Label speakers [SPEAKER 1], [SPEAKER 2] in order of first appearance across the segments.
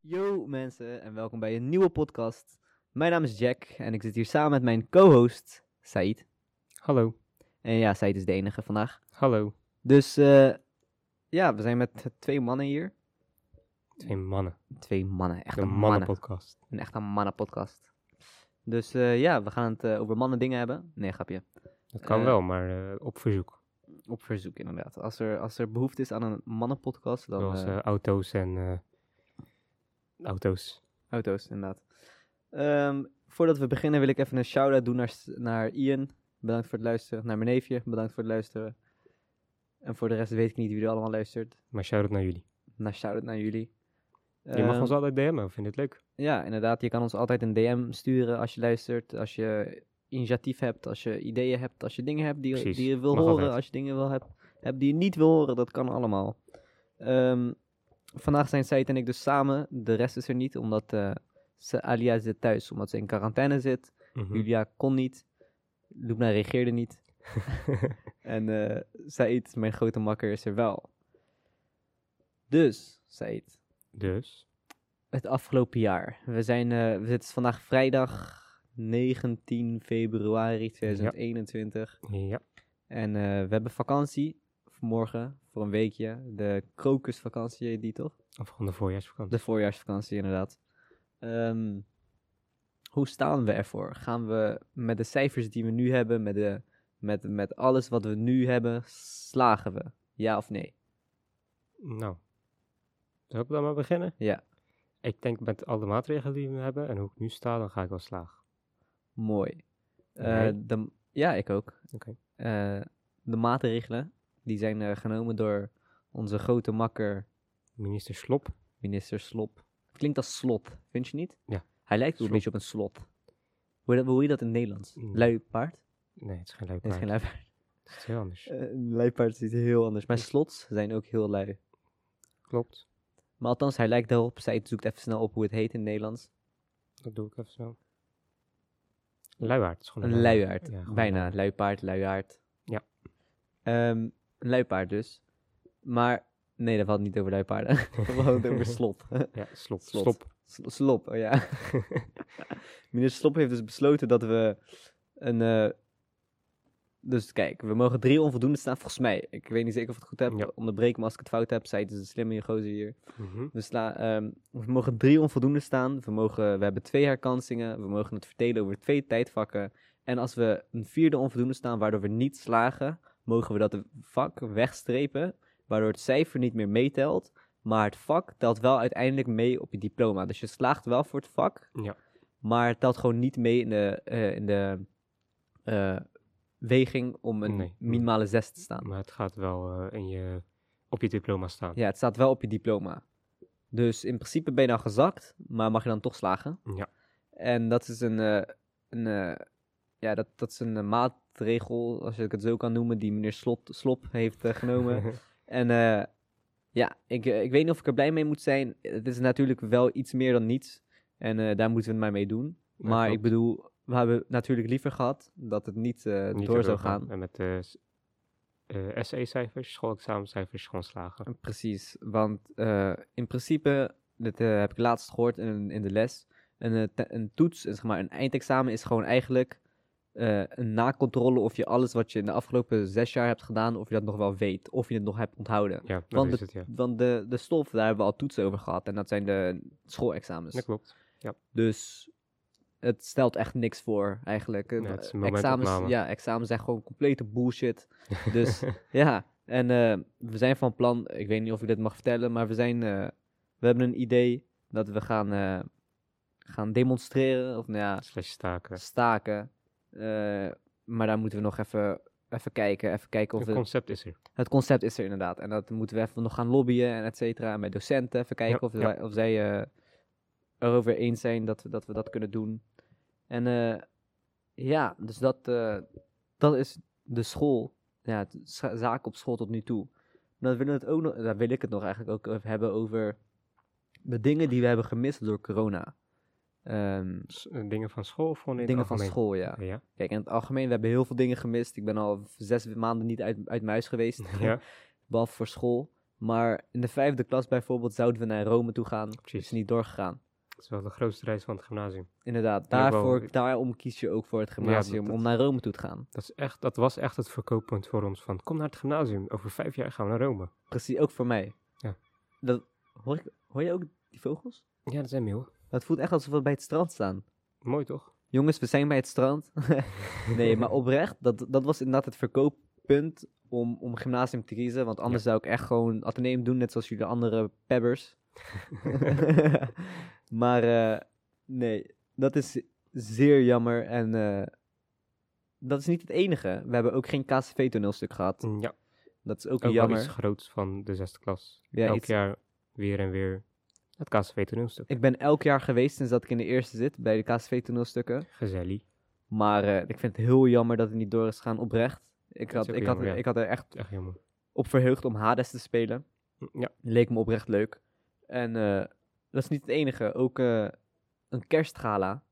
[SPEAKER 1] Yo mensen en welkom bij een nieuwe podcast. Mijn naam is Jack en ik zit hier samen met mijn co-host Said.
[SPEAKER 2] Hallo,
[SPEAKER 1] En ja, Said is de enige vandaag.
[SPEAKER 2] hallo.
[SPEAKER 1] Dus eh, ja, we zijn met twee mannen hier.
[SPEAKER 2] Twee mannen.
[SPEAKER 1] Twee mannen, echt
[SPEAKER 2] de
[SPEAKER 1] een mannen.
[SPEAKER 2] mannenpodcast.
[SPEAKER 1] Een echte mannenpodcast. Dus eh, ja, we gaan het eh, over mannen dingen hebben. Nee, grapje.
[SPEAKER 2] Dat kan
[SPEAKER 1] Eh,
[SPEAKER 2] wel, maar eh, op verzoek.
[SPEAKER 1] Op verzoek inderdaad. Als er, als er behoefte is aan een mannenpodcast, dan...
[SPEAKER 2] Zoals
[SPEAKER 1] eh,
[SPEAKER 2] eh, auto's en eh, auto's.
[SPEAKER 1] Auto's, inderdaad. Ehm, voordat we beginnen wil ik even een shout-out doen naar, S- naar Ian. Bedankt voor het luisteren. Naar mijn neefje, bedankt voor het luisteren. En voor de rest weet ik niet wie er allemaal luistert.
[SPEAKER 2] Maar shout-out naar jullie.
[SPEAKER 1] Naar shout-out naar jullie.
[SPEAKER 2] je mag
[SPEAKER 1] Ehm,
[SPEAKER 2] ons altijd DM'en, we vinden het leuk.
[SPEAKER 1] Ja, inderdaad. Je kan ons altijd een DM sturen als je luistert. Als je initiatief hebt, als je ideeën hebt, als je dingen hebt die,
[SPEAKER 2] Precies,
[SPEAKER 1] die je wil
[SPEAKER 2] mag
[SPEAKER 1] horen.
[SPEAKER 2] altijd.
[SPEAKER 1] Als je dingen wil hebt, hebt die je niet wil horen, dat kan allemaal. Ehm, vandaag zijn Said en ik dus samen. De rest is er niet, omdat eh, ze, Alia zit thuis, omdat ze in quarantaine zit.
[SPEAKER 2] Mhm.
[SPEAKER 1] Julia kon niet. Lubna reageerde niet. en eh Said, mijn grote makker, is er wel. Dus, Said
[SPEAKER 2] Dus,
[SPEAKER 1] het afgelopen jaar. We zijn, eh, we zitten vandaag vrijdag 19 februari 2021.
[SPEAKER 2] ja,
[SPEAKER 1] En eh, we hebben vakantie morgen voor een weekje. De krokusvakantie heet die toch?
[SPEAKER 2] of gewoon de voorjaarsvakantie.
[SPEAKER 1] De voorjaarsvakantie inderdaad. Ehm, hoe staan we ervoor? Gaan we met de cijfers die we nu hebben, met, de, met, met alles wat we nu hebben, slagen we? Ja of nee?
[SPEAKER 2] Nou, zal ik dan maar beginnen?
[SPEAKER 1] Ja.
[SPEAKER 2] Ik denk met alle maatregelen die we hebben en hoe ik nu sta, dan ga ik wel slagen.
[SPEAKER 1] Mooi. Eh,
[SPEAKER 2] Jij?
[SPEAKER 1] de, ja, ik ook.
[SPEAKER 2] Oké.
[SPEAKER 1] Eh, de maatregelen die zijn eh, genomen door onze grote makker,
[SPEAKER 2] Minister Slop,
[SPEAKER 1] minister Slop. Klinkt als slot, vind je niet?
[SPEAKER 2] Ja.
[SPEAKER 1] Hij lijkt wel een
[SPEAKER 2] Slop.
[SPEAKER 1] beetje op een slot. Hoe, dat- hoe heet dat in het Nederlands?
[SPEAKER 2] Mm.
[SPEAKER 1] Luipaard?
[SPEAKER 2] nee, het is geen
[SPEAKER 1] Nee, het is
[SPEAKER 2] luipaard.
[SPEAKER 1] geen luipaard.
[SPEAKER 2] Het is heel anders.
[SPEAKER 1] Eh, Een luipaard is iets heel anders. Maar slots zijn ook heel lui.
[SPEAKER 2] Klopt,
[SPEAKER 1] Maar althans, hij lijkt daarop. Zij zoekt even snel op hoe het heet in het Nederlands.
[SPEAKER 2] dat doe ik even zo. Luiaard. het is gewoon
[SPEAKER 1] Een luiaard.
[SPEAKER 2] Ja, gewoon
[SPEAKER 1] Bijna.
[SPEAKER 2] een
[SPEAKER 1] Luipaard, luiaard.
[SPEAKER 2] Ja.
[SPEAKER 1] Ehm, een luipaard dus. Maar, nee, dat valt niet over luipaarden. We hadden het over slop.
[SPEAKER 2] Ja, slop.
[SPEAKER 1] Slot.
[SPEAKER 2] Slop.
[SPEAKER 1] Sl- slop, oh ja. Minister Slop heeft dus besloten dat we een... eh, dus kijk, we mogen drie onvoldoende staan, volgens mij. Ik weet niet zeker of ik het goed heb.
[SPEAKER 2] Ja.
[SPEAKER 1] Onderbreek me als ik het fout heb. Zij is een slimme gozer hier.
[SPEAKER 2] Mhm.
[SPEAKER 1] We, sla, ehm, we mogen drie onvoldoende staan. We, mogen, we hebben twee herkansingen. We mogen het verdelen over twee tijdvakken. En als we een vierde onvoldoende staan, waardoor we niet slagen, mogen we dat vak wegstrepen. Waardoor het cijfer niet meer meetelt. Maar het vak telt wel uiteindelijk mee op je diploma. Dus je slaagt wel voor het vak.
[SPEAKER 2] Ja.
[SPEAKER 1] Maar het telt gewoon niet mee in de, eh, in de eh, weging om een
[SPEAKER 2] Nee.
[SPEAKER 1] minimale zes te staan.
[SPEAKER 2] Maar het gaat wel eh, in je, op je diploma staan.
[SPEAKER 1] Ja, het staat wel op je diploma. Dus in principe ben je dan gezakt, maar mag je dan toch slagen.
[SPEAKER 2] Ja.
[SPEAKER 1] En dat is een, eh, een, eh, ja, dat, dat is een eh, maatregel, als ik het zo kan noemen, die meneer Slot, Slop heeft eh, genomen. En eh, ja, ik, eh, ik weet niet of ik er blij mee moet zijn. Het is natuurlijk wel iets meer dan niets. En eh, daar moeten we het maar mee doen.
[SPEAKER 2] Ja,
[SPEAKER 1] maar ik
[SPEAKER 2] klopt.
[SPEAKER 1] bedoel, we hebben natuurlijk liever gehad dat het niet, eh,
[SPEAKER 2] Niet
[SPEAKER 1] door zou
[SPEAKER 2] doorgaan.
[SPEAKER 1] gaan.
[SPEAKER 2] En met eh, de SE-cijfers, schoolexamencijfers, gewoon slagen.
[SPEAKER 1] Precies, want eh, in principe, dat eh, heb ik laatst gehoord in, in de les, een, eh, te- een toets, eh, zeg maar, een eindexamen is gewoon eigenlijk eh, een nakontrole of je alles wat je in de afgelopen zes jaar hebt gedaan, of je dat nog wel weet, of je het nog hebt onthouden.
[SPEAKER 2] Ja, dat
[SPEAKER 1] Want
[SPEAKER 2] is het, ja.
[SPEAKER 1] Want de, de stof, daar hebben we al toetsen over gehad en dat zijn de schoolexamens.
[SPEAKER 2] Dat klopt.
[SPEAKER 1] Dus het stelt echt niks voor eigenlijk. Eh,
[SPEAKER 2] Ja, het is een
[SPEAKER 1] examens,
[SPEAKER 2] momentopname.
[SPEAKER 1] ja, examens zijn gewoon complete bullshit. Dus ja, en eh, we zijn van plan, ik weet niet of ik dit mag vertellen, maar we, zijn, eh, we hebben een idee dat we gaan, eh, gaan demonstreren, of nou ja,
[SPEAKER 2] Slash staken.
[SPEAKER 1] staken. Eh, maar daar moeten we nog even, even kijken, even kijken of
[SPEAKER 2] Het
[SPEAKER 1] we,
[SPEAKER 2] concept is er.
[SPEAKER 1] het concept is er inderdaad. En dat moeten we even nog gaan lobbyen en et cetera. En met docenten even kijken
[SPEAKER 2] Ja,
[SPEAKER 1] of,
[SPEAKER 2] ja.
[SPEAKER 1] wij- of zij eh, erover eens zijn dat we dat, we dat kunnen doen. En eh, ja, dus dat, eh, dat is de school. Ja, het za- zaak op school tot nu toe. Maar dan, willen we het ook nog, dan wil ik het nog eigenlijk ook over hebben over de dingen die we hebben gemist door corona. Ehm,
[SPEAKER 2] S- eh, dingen van school of gewoon in het
[SPEAKER 1] dingen van
[SPEAKER 2] algemeen?
[SPEAKER 1] school, ja.
[SPEAKER 2] Ja.
[SPEAKER 1] Kijk, in het algemeen, we hebben heel veel dingen gemist. Ik ben al zes maanden niet uit, uit mijn huis geweest.
[SPEAKER 2] ja.
[SPEAKER 1] Behalve voor school. Maar in de vijfde klas bijvoorbeeld zouden we naar Rome toe gaan.
[SPEAKER 2] Precies.
[SPEAKER 1] Is niet doorgegaan.
[SPEAKER 2] Dat is wel de grootste reis van het gymnasium.
[SPEAKER 1] Inderdaad,
[SPEAKER 2] Ja, wel.
[SPEAKER 1] daarvoor, daarom kies je ook voor het gymnasium,
[SPEAKER 2] dat-
[SPEAKER 1] om naar Rome toe te gaan.
[SPEAKER 2] Dat, is echt, dat was echt het verkooppunt voor ons. Van kom naar het gymnasium. Over vijf jaar gaan we naar Rome.
[SPEAKER 1] Precies, ook voor mij.
[SPEAKER 2] Ja.
[SPEAKER 1] Dat, hoor, ik- hoor je ook die vogels?
[SPEAKER 2] Ja, dat zijn meeuwen.
[SPEAKER 1] Dat voelt echt alsof we bij het strand staan.
[SPEAKER 2] Mooi toch?
[SPEAKER 1] Jongens, we zijn bij het strand. nee, maar oprecht, dat, dat was inderdaad het verkooppunt om, om gymnasium te kiezen. Want anders zou ik echt gewoon ateneum doen, net zoals jullie andere pebbers. maar eh, nee, dat is zeer jammer. En eh, dat is niet het enige. We hebben ook geen KCV-toneelstuk gehad.
[SPEAKER 2] ja,
[SPEAKER 1] Dat is ook,
[SPEAKER 2] Mm. ook wel
[SPEAKER 1] jammer.
[SPEAKER 2] iets groots van de zesde klas.
[SPEAKER 1] Ja,
[SPEAKER 2] Elk
[SPEAKER 1] iets-
[SPEAKER 2] jaar weer en weer het KSV toneelstuk.
[SPEAKER 1] Ik ben elk jaar geweest sinds dat ik in de eerste zit bij de KSV-toneelstukken.
[SPEAKER 2] Gezellig.
[SPEAKER 1] Maar eh, ik vind het heel jammer dat het niet door is gegaan, oprecht. Ik
[SPEAKER 2] Dat
[SPEAKER 1] had,
[SPEAKER 2] is ook
[SPEAKER 1] ik, had,
[SPEAKER 2] jammer, ja.
[SPEAKER 1] ik had er echt
[SPEAKER 2] Echt jammer.
[SPEAKER 1] op verheugd om Hades te spelen.
[SPEAKER 2] Ja,
[SPEAKER 1] Leek me oprecht leuk. En eh, dat is niet het enige. Ook eh, een kerstgala.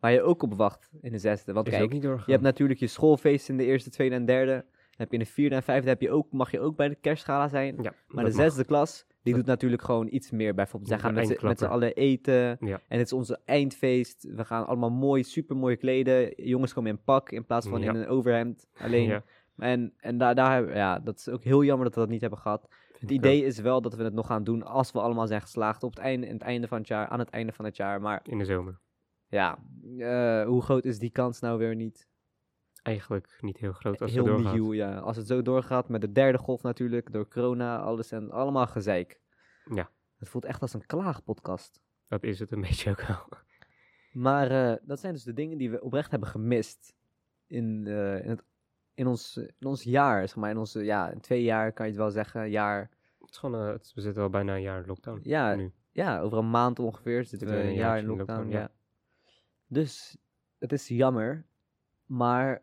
[SPEAKER 1] Waar je ook op wacht in de zesde. Want
[SPEAKER 2] is ook
[SPEAKER 1] kijk,
[SPEAKER 2] niet
[SPEAKER 1] je
[SPEAKER 2] doorgegaan.
[SPEAKER 1] hebt natuurlijk je schoolfeest in de eerste, tweede en derde. Dan heb je in de vierde en vijfde heb je ook, mag je ook bij de kerstgala zijn.
[SPEAKER 2] ja,
[SPEAKER 1] Maar de
[SPEAKER 2] dat mag.
[SPEAKER 1] zesde klas, die
[SPEAKER 2] Dat-
[SPEAKER 1] doet natuurlijk gewoon iets meer. Bijvoorbeeld, zij
[SPEAKER 2] De
[SPEAKER 1] gaan met z'n- met z'n
[SPEAKER 2] eindklapper.
[SPEAKER 1] allen eten.
[SPEAKER 2] Ja.
[SPEAKER 1] En het is onze eindfeest. We gaan allemaal mooi, super mooi kleden. Jongens komen in pak in plaats van in
[SPEAKER 2] Ja.
[SPEAKER 1] een overhemd. Alleen.
[SPEAKER 2] Ja,
[SPEAKER 1] En, en daar, daar, hebben- ja, dat is ook heel jammer dat we dat niet hebben gehad.
[SPEAKER 2] vind
[SPEAKER 1] Het
[SPEAKER 2] ik
[SPEAKER 1] idee is wel dat we het nog gaan doen als we allemaal zijn geslaagd op het einde, in het einde van het jaar, aan het einde van het jaar. Maar
[SPEAKER 2] ook. In de zomer.
[SPEAKER 1] ja, eh, hoe groot is die kans nou weer niet?
[SPEAKER 2] Eigenlijk niet heel groot als het
[SPEAKER 1] heel
[SPEAKER 2] doorgaat.
[SPEAKER 1] nieuw, ja. Als het zo doorgaat met de derde golf natuurlijk, door corona, alles en allemaal gezeik.
[SPEAKER 2] Ja.
[SPEAKER 1] Het voelt echt als een klaagpodcast.
[SPEAKER 2] Dat is het een beetje ook wel.
[SPEAKER 1] Maar eh, dat zijn dus de dingen die we oprecht hebben gemist in, eh, in, het, in, ons, in ons jaar, zeg maar. In onze, ja, in twee jaar kan je het wel zeggen, jaar.
[SPEAKER 2] Het is gewoon, eh, het- we zitten al bijna een jaar in lockdown.
[SPEAKER 1] Ja,
[SPEAKER 2] nu.
[SPEAKER 1] ja, over een maand ongeveer zitten we
[SPEAKER 2] Zitten we
[SPEAKER 1] een
[SPEAKER 2] een
[SPEAKER 1] jaar in
[SPEAKER 2] jaartje in
[SPEAKER 1] lockdown.
[SPEAKER 2] lockdown,
[SPEAKER 1] ja. Dus het is jammer, maar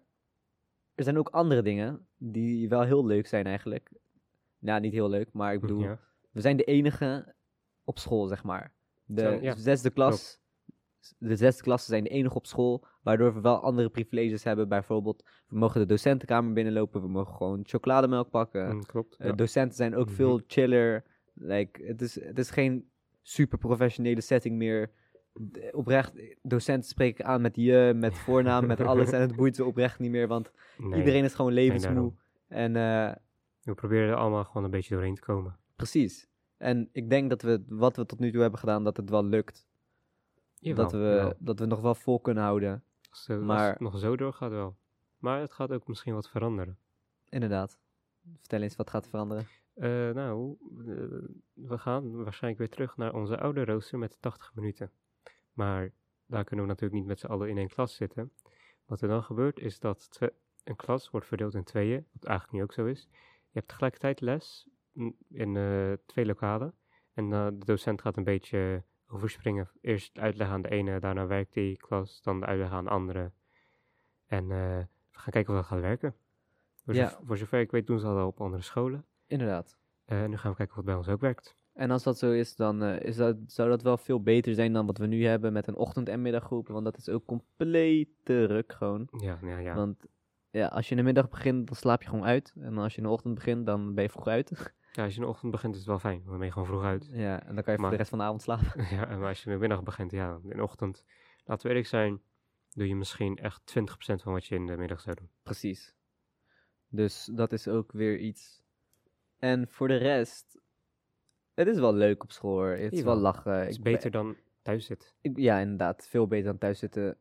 [SPEAKER 1] er zijn ook andere dingen die wel heel leuk zijn eigenlijk. Nou, niet heel leuk, maar ik bedoel,
[SPEAKER 2] Hm, Ja.
[SPEAKER 1] we zijn de enige op school, zeg maar. De
[SPEAKER 2] Zo, ja,
[SPEAKER 1] zesde klas, de zesde klassen zijn de enige op school, waardoor we wel andere privileges hebben. Bijvoorbeeld, we mogen de docentenkamer binnenlopen, we mogen gewoon chocolademelk pakken.
[SPEAKER 2] Mm, klopt.
[SPEAKER 1] Eh,
[SPEAKER 2] ja.
[SPEAKER 1] Docenten zijn ook
[SPEAKER 2] Mhm.
[SPEAKER 1] veel chiller. Like, het, is, het is geen super professionele setting meer. D- Oprecht, docenten spreken aan met je, met voornaam, met alles. En het boeit ze oprecht niet meer, want
[SPEAKER 2] Nee,
[SPEAKER 1] iedereen is gewoon
[SPEAKER 2] nee,
[SPEAKER 1] levensmoe.
[SPEAKER 2] daarom.
[SPEAKER 1] en eh,
[SPEAKER 2] We proberen er allemaal gewoon een beetje doorheen te komen.
[SPEAKER 1] precies. En ik denk dat we wat we tot nu toe hebben gedaan, dat het wel lukt.
[SPEAKER 2] Jawel,
[SPEAKER 1] dat, we,
[SPEAKER 2] jawel.
[SPEAKER 1] dat we nog wel vol kunnen houden.
[SPEAKER 2] Als, eh, als
[SPEAKER 1] maar-
[SPEAKER 2] het nog zo doorgaat wel. Maar het gaat ook misschien wat veranderen.
[SPEAKER 1] Inderdaad. Vertel eens wat gaat veranderen.
[SPEAKER 2] Eh, nou, eh, we gaan waarschijnlijk weer terug naar onze oude rooster met 80 minuten. Maar daar kunnen we natuurlijk niet met z'n allen in één klas zitten. Wat er dan gebeurt is dat twe- een klas wordt verdeeld in tweeën, wat eigenlijk nu ook zo is. Je hebt tegelijkertijd les mm, in eh, twee lokalen. En eh, de docent gaat een beetje overspringen. Eerst uitleg aan de ene, daarna werkt die klas, dan de uitleg aan de andere. En eh, we gaan kijken of dat gaat werken. Voor,
[SPEAKER 1] Ja.
[SPEAKER 2] zover, voor zover ik weet doen ze dat al op andere scholen.
[SPEAKER 1] Inderdaad.
[SPEAKER 2] Eh, nu gaan we kijken of het bij ons ook werkt.
[SPEAKER 1] En als dat zo is, dan eh, is dat, zou dat wel veel beter zijn dan wat we nu hebben met een ochtend- en middaggroep. Want dat is ook complete ruk gewoon.
[SPEAKER 2] Ja, nou ja, ja.
[SPEAKER 1] Want ja, als je in de middag begint, dan slaap je gewoon uit. En als je in de ochtend begint, dan ben je vroeg uit.
[SPEAKER 2] ja als je in de ochtend begint is het wel fijn, want dan ben je gewoon vroeg uit.
[SPEAKER 1] ja, en dan kan je voor de
[SPEAKER 2] Maar-
[SPEAKER 1] rest van de avond slapen.
[SPEAKER 2] ja, en maar als je in de middag begint, ja, in de ochtend, laten we eerlijk zijn, doe je misschien echt 20% van wat je in de middag zou doen.
[SPEAKER 1] Precies. Dus dat is ook weer iets. En voor de rest, het is wel leuk op school. hoor. Het is wel
[SPEAKER 2] Jawel.
[SPEAKER 1] lachen.
[SPEAKER 2] Het is
[SPEAKER 1] Ik ben-
[SPEAKER 2] beter dan thuis zit.
[SPEAKER 1] Ik- ja, inderdaad. Veel beter dan thuis zitten.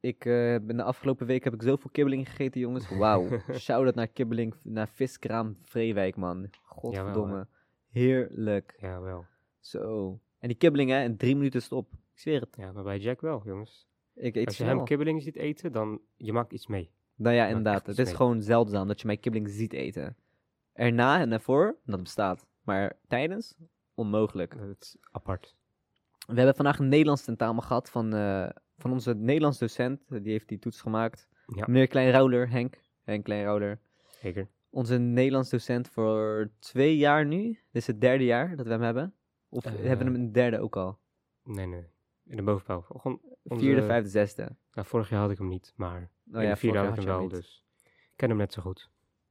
[SPEAKER 1] Ik eh, heb in de afgelopen week heb ik zoveel kibbeling gegeten, jongens. Wauw. Shout-out naar kibbeling, naar viskraam Vreewijk, man. Godverdomme. Heerlijk.
[SPEAKER 2] Ja, wel.
[SPEAKER 1] Zo. En die kibbeling, hè, in drie minuten stop. Ik zweer het.
[SPEAKER 2] Ja, maar bij Jack wel, jongens.
[SPEAKER 1] Ik eet
[SPEAKER 2] als je hem
[SPEAKER 1] snel.
[SPEAKER 2] kibbeling ziet eten, dan je maakt iets mee.
[SPEAKER 1] Nou ja,
[SPEAKER 2] echt
[SPEAKER 1] inderdaad. Het
[SPEAKER 2] iets
[SPEAKER 1] is
[SPEAKER 2] mee.
[SPEAKER 1] gewoon zeldzaam dat je mij kibbeling ziet eten. Erna en daarvoor, dat bestaat. Maar tijdens, onmogelijk.
[SPEAKER 2] Dat is apart.
[SPEAKER 1] We hebben vandaag een Nederlands tentamen gehad van, eh, van onze Nederlands docent. Die heeft die toets gemaakt.
[SPEAKER 2] Ja.
[SPEAKER 1] Meneer Kleinrouder, Henk. Henk Kleinrouder.
[SPEAKER 2] Zeker.
[SPEAKER 1] Onze Nederlands docent voor twee jaar nu. Dit is het derde jaar dat we hem hebben. Of
[SPEAKER 2] Eh,
[SPEAKER 1] hebben we hem in het derde ook al?
[SPEAKER 2] Nee, nee. In de bovenbouw. Gewoon onze-
[SPEAKER 1] Vierde, vijfde, zesde.
[SPEAKER 2] Nou, vorig jaar had ik hem niet, maar
[SPEAKER 1] Nou
[SPEAKER 2] in
[SPEAKER 1] ja,
[SPEAKER 2] de vierde
[SPEAKER 1] vorig
[SPEAKER 2] had ik
[SPEAKER 1] jaar
[SPEAKER 2] hem
[SPEAKER 1] had
[SPEAKER 2] wel,
[SPEAKER 1] je hem
[SPEAKER 2] dus ik ken hem net zo goed.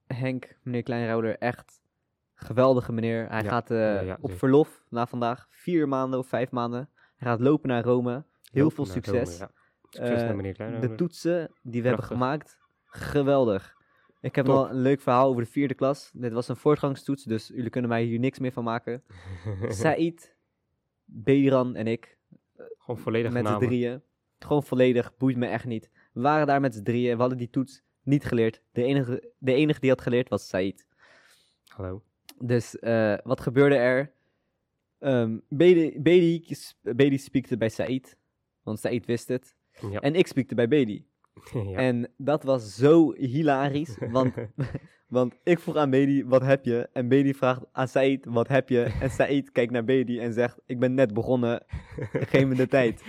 [SPEAKER 1] niet. Henk, meneer Kleinrouder, echt Geweldige meneer. Hij
[SPEAKER 2] Ja,
[SPEAKER 1] gaat eh,
[SPEAKER 2] ja, ja,
[SPEAKER 1] op
[SPEAKER 2] zeker.
[SPEAKER 1] verlof na vandaag. Vier maanden of vijf maanden. Hij gaat lopen naar Rome. Heel veel
[SPEAKER 2] Lopen naar Rome,
[SPEAKER 1] succes.
[SPEAKER 2] ja. Succes
[SPEAKER 1] Eh,
[SPEAKER 2] naar meneer Kleinhouwer.
[SPEAKER 1] De toetsen die we hebben
[SPEAKER 2] Prachtig.
[SPEAKER 1] gemaakt, geweldig. Ik heb
[SPEAKER 2] Top.
[SPEAKER 1] nog een leuk verhaal over de vierde klas. Dit was een voortgangstoets, dus jullie kunnen mij hier niks meer van maken. Said, Bedran en ik,
[SPEAKER 2] Gewoon volledig
[SPEAKER 1] met z'n
[SPEAKER 2] namen.
[SPEAKER 1] drieën. Gewoon volledig, boeit me echt niet. We waren daar met z'n drieën, we hadden die toets niet geleerd. De enige, de enige die had geleerd was Said.
[SPEAKER 2] Hallo.
[SPEAKER 1] Dus eh, wat gebeurde er? Ehm Bedi, Bedi, Bedi spiekte bij Said, want Said wist het.
[SPEAKER 2] Ja.
[SPEAKER 1] En ik spiekte bij Bedi.
[SPEAKER 2] ja.
[SPEAKER 1] En dat was zo hilarisch, want, want ik vroeg aan Bedi, wat heb je? En Bedi vraagt aan Said, wat heb je? En Said kijkt naar Bedi en zegt, ik ben net begonnen, geef me de tijd.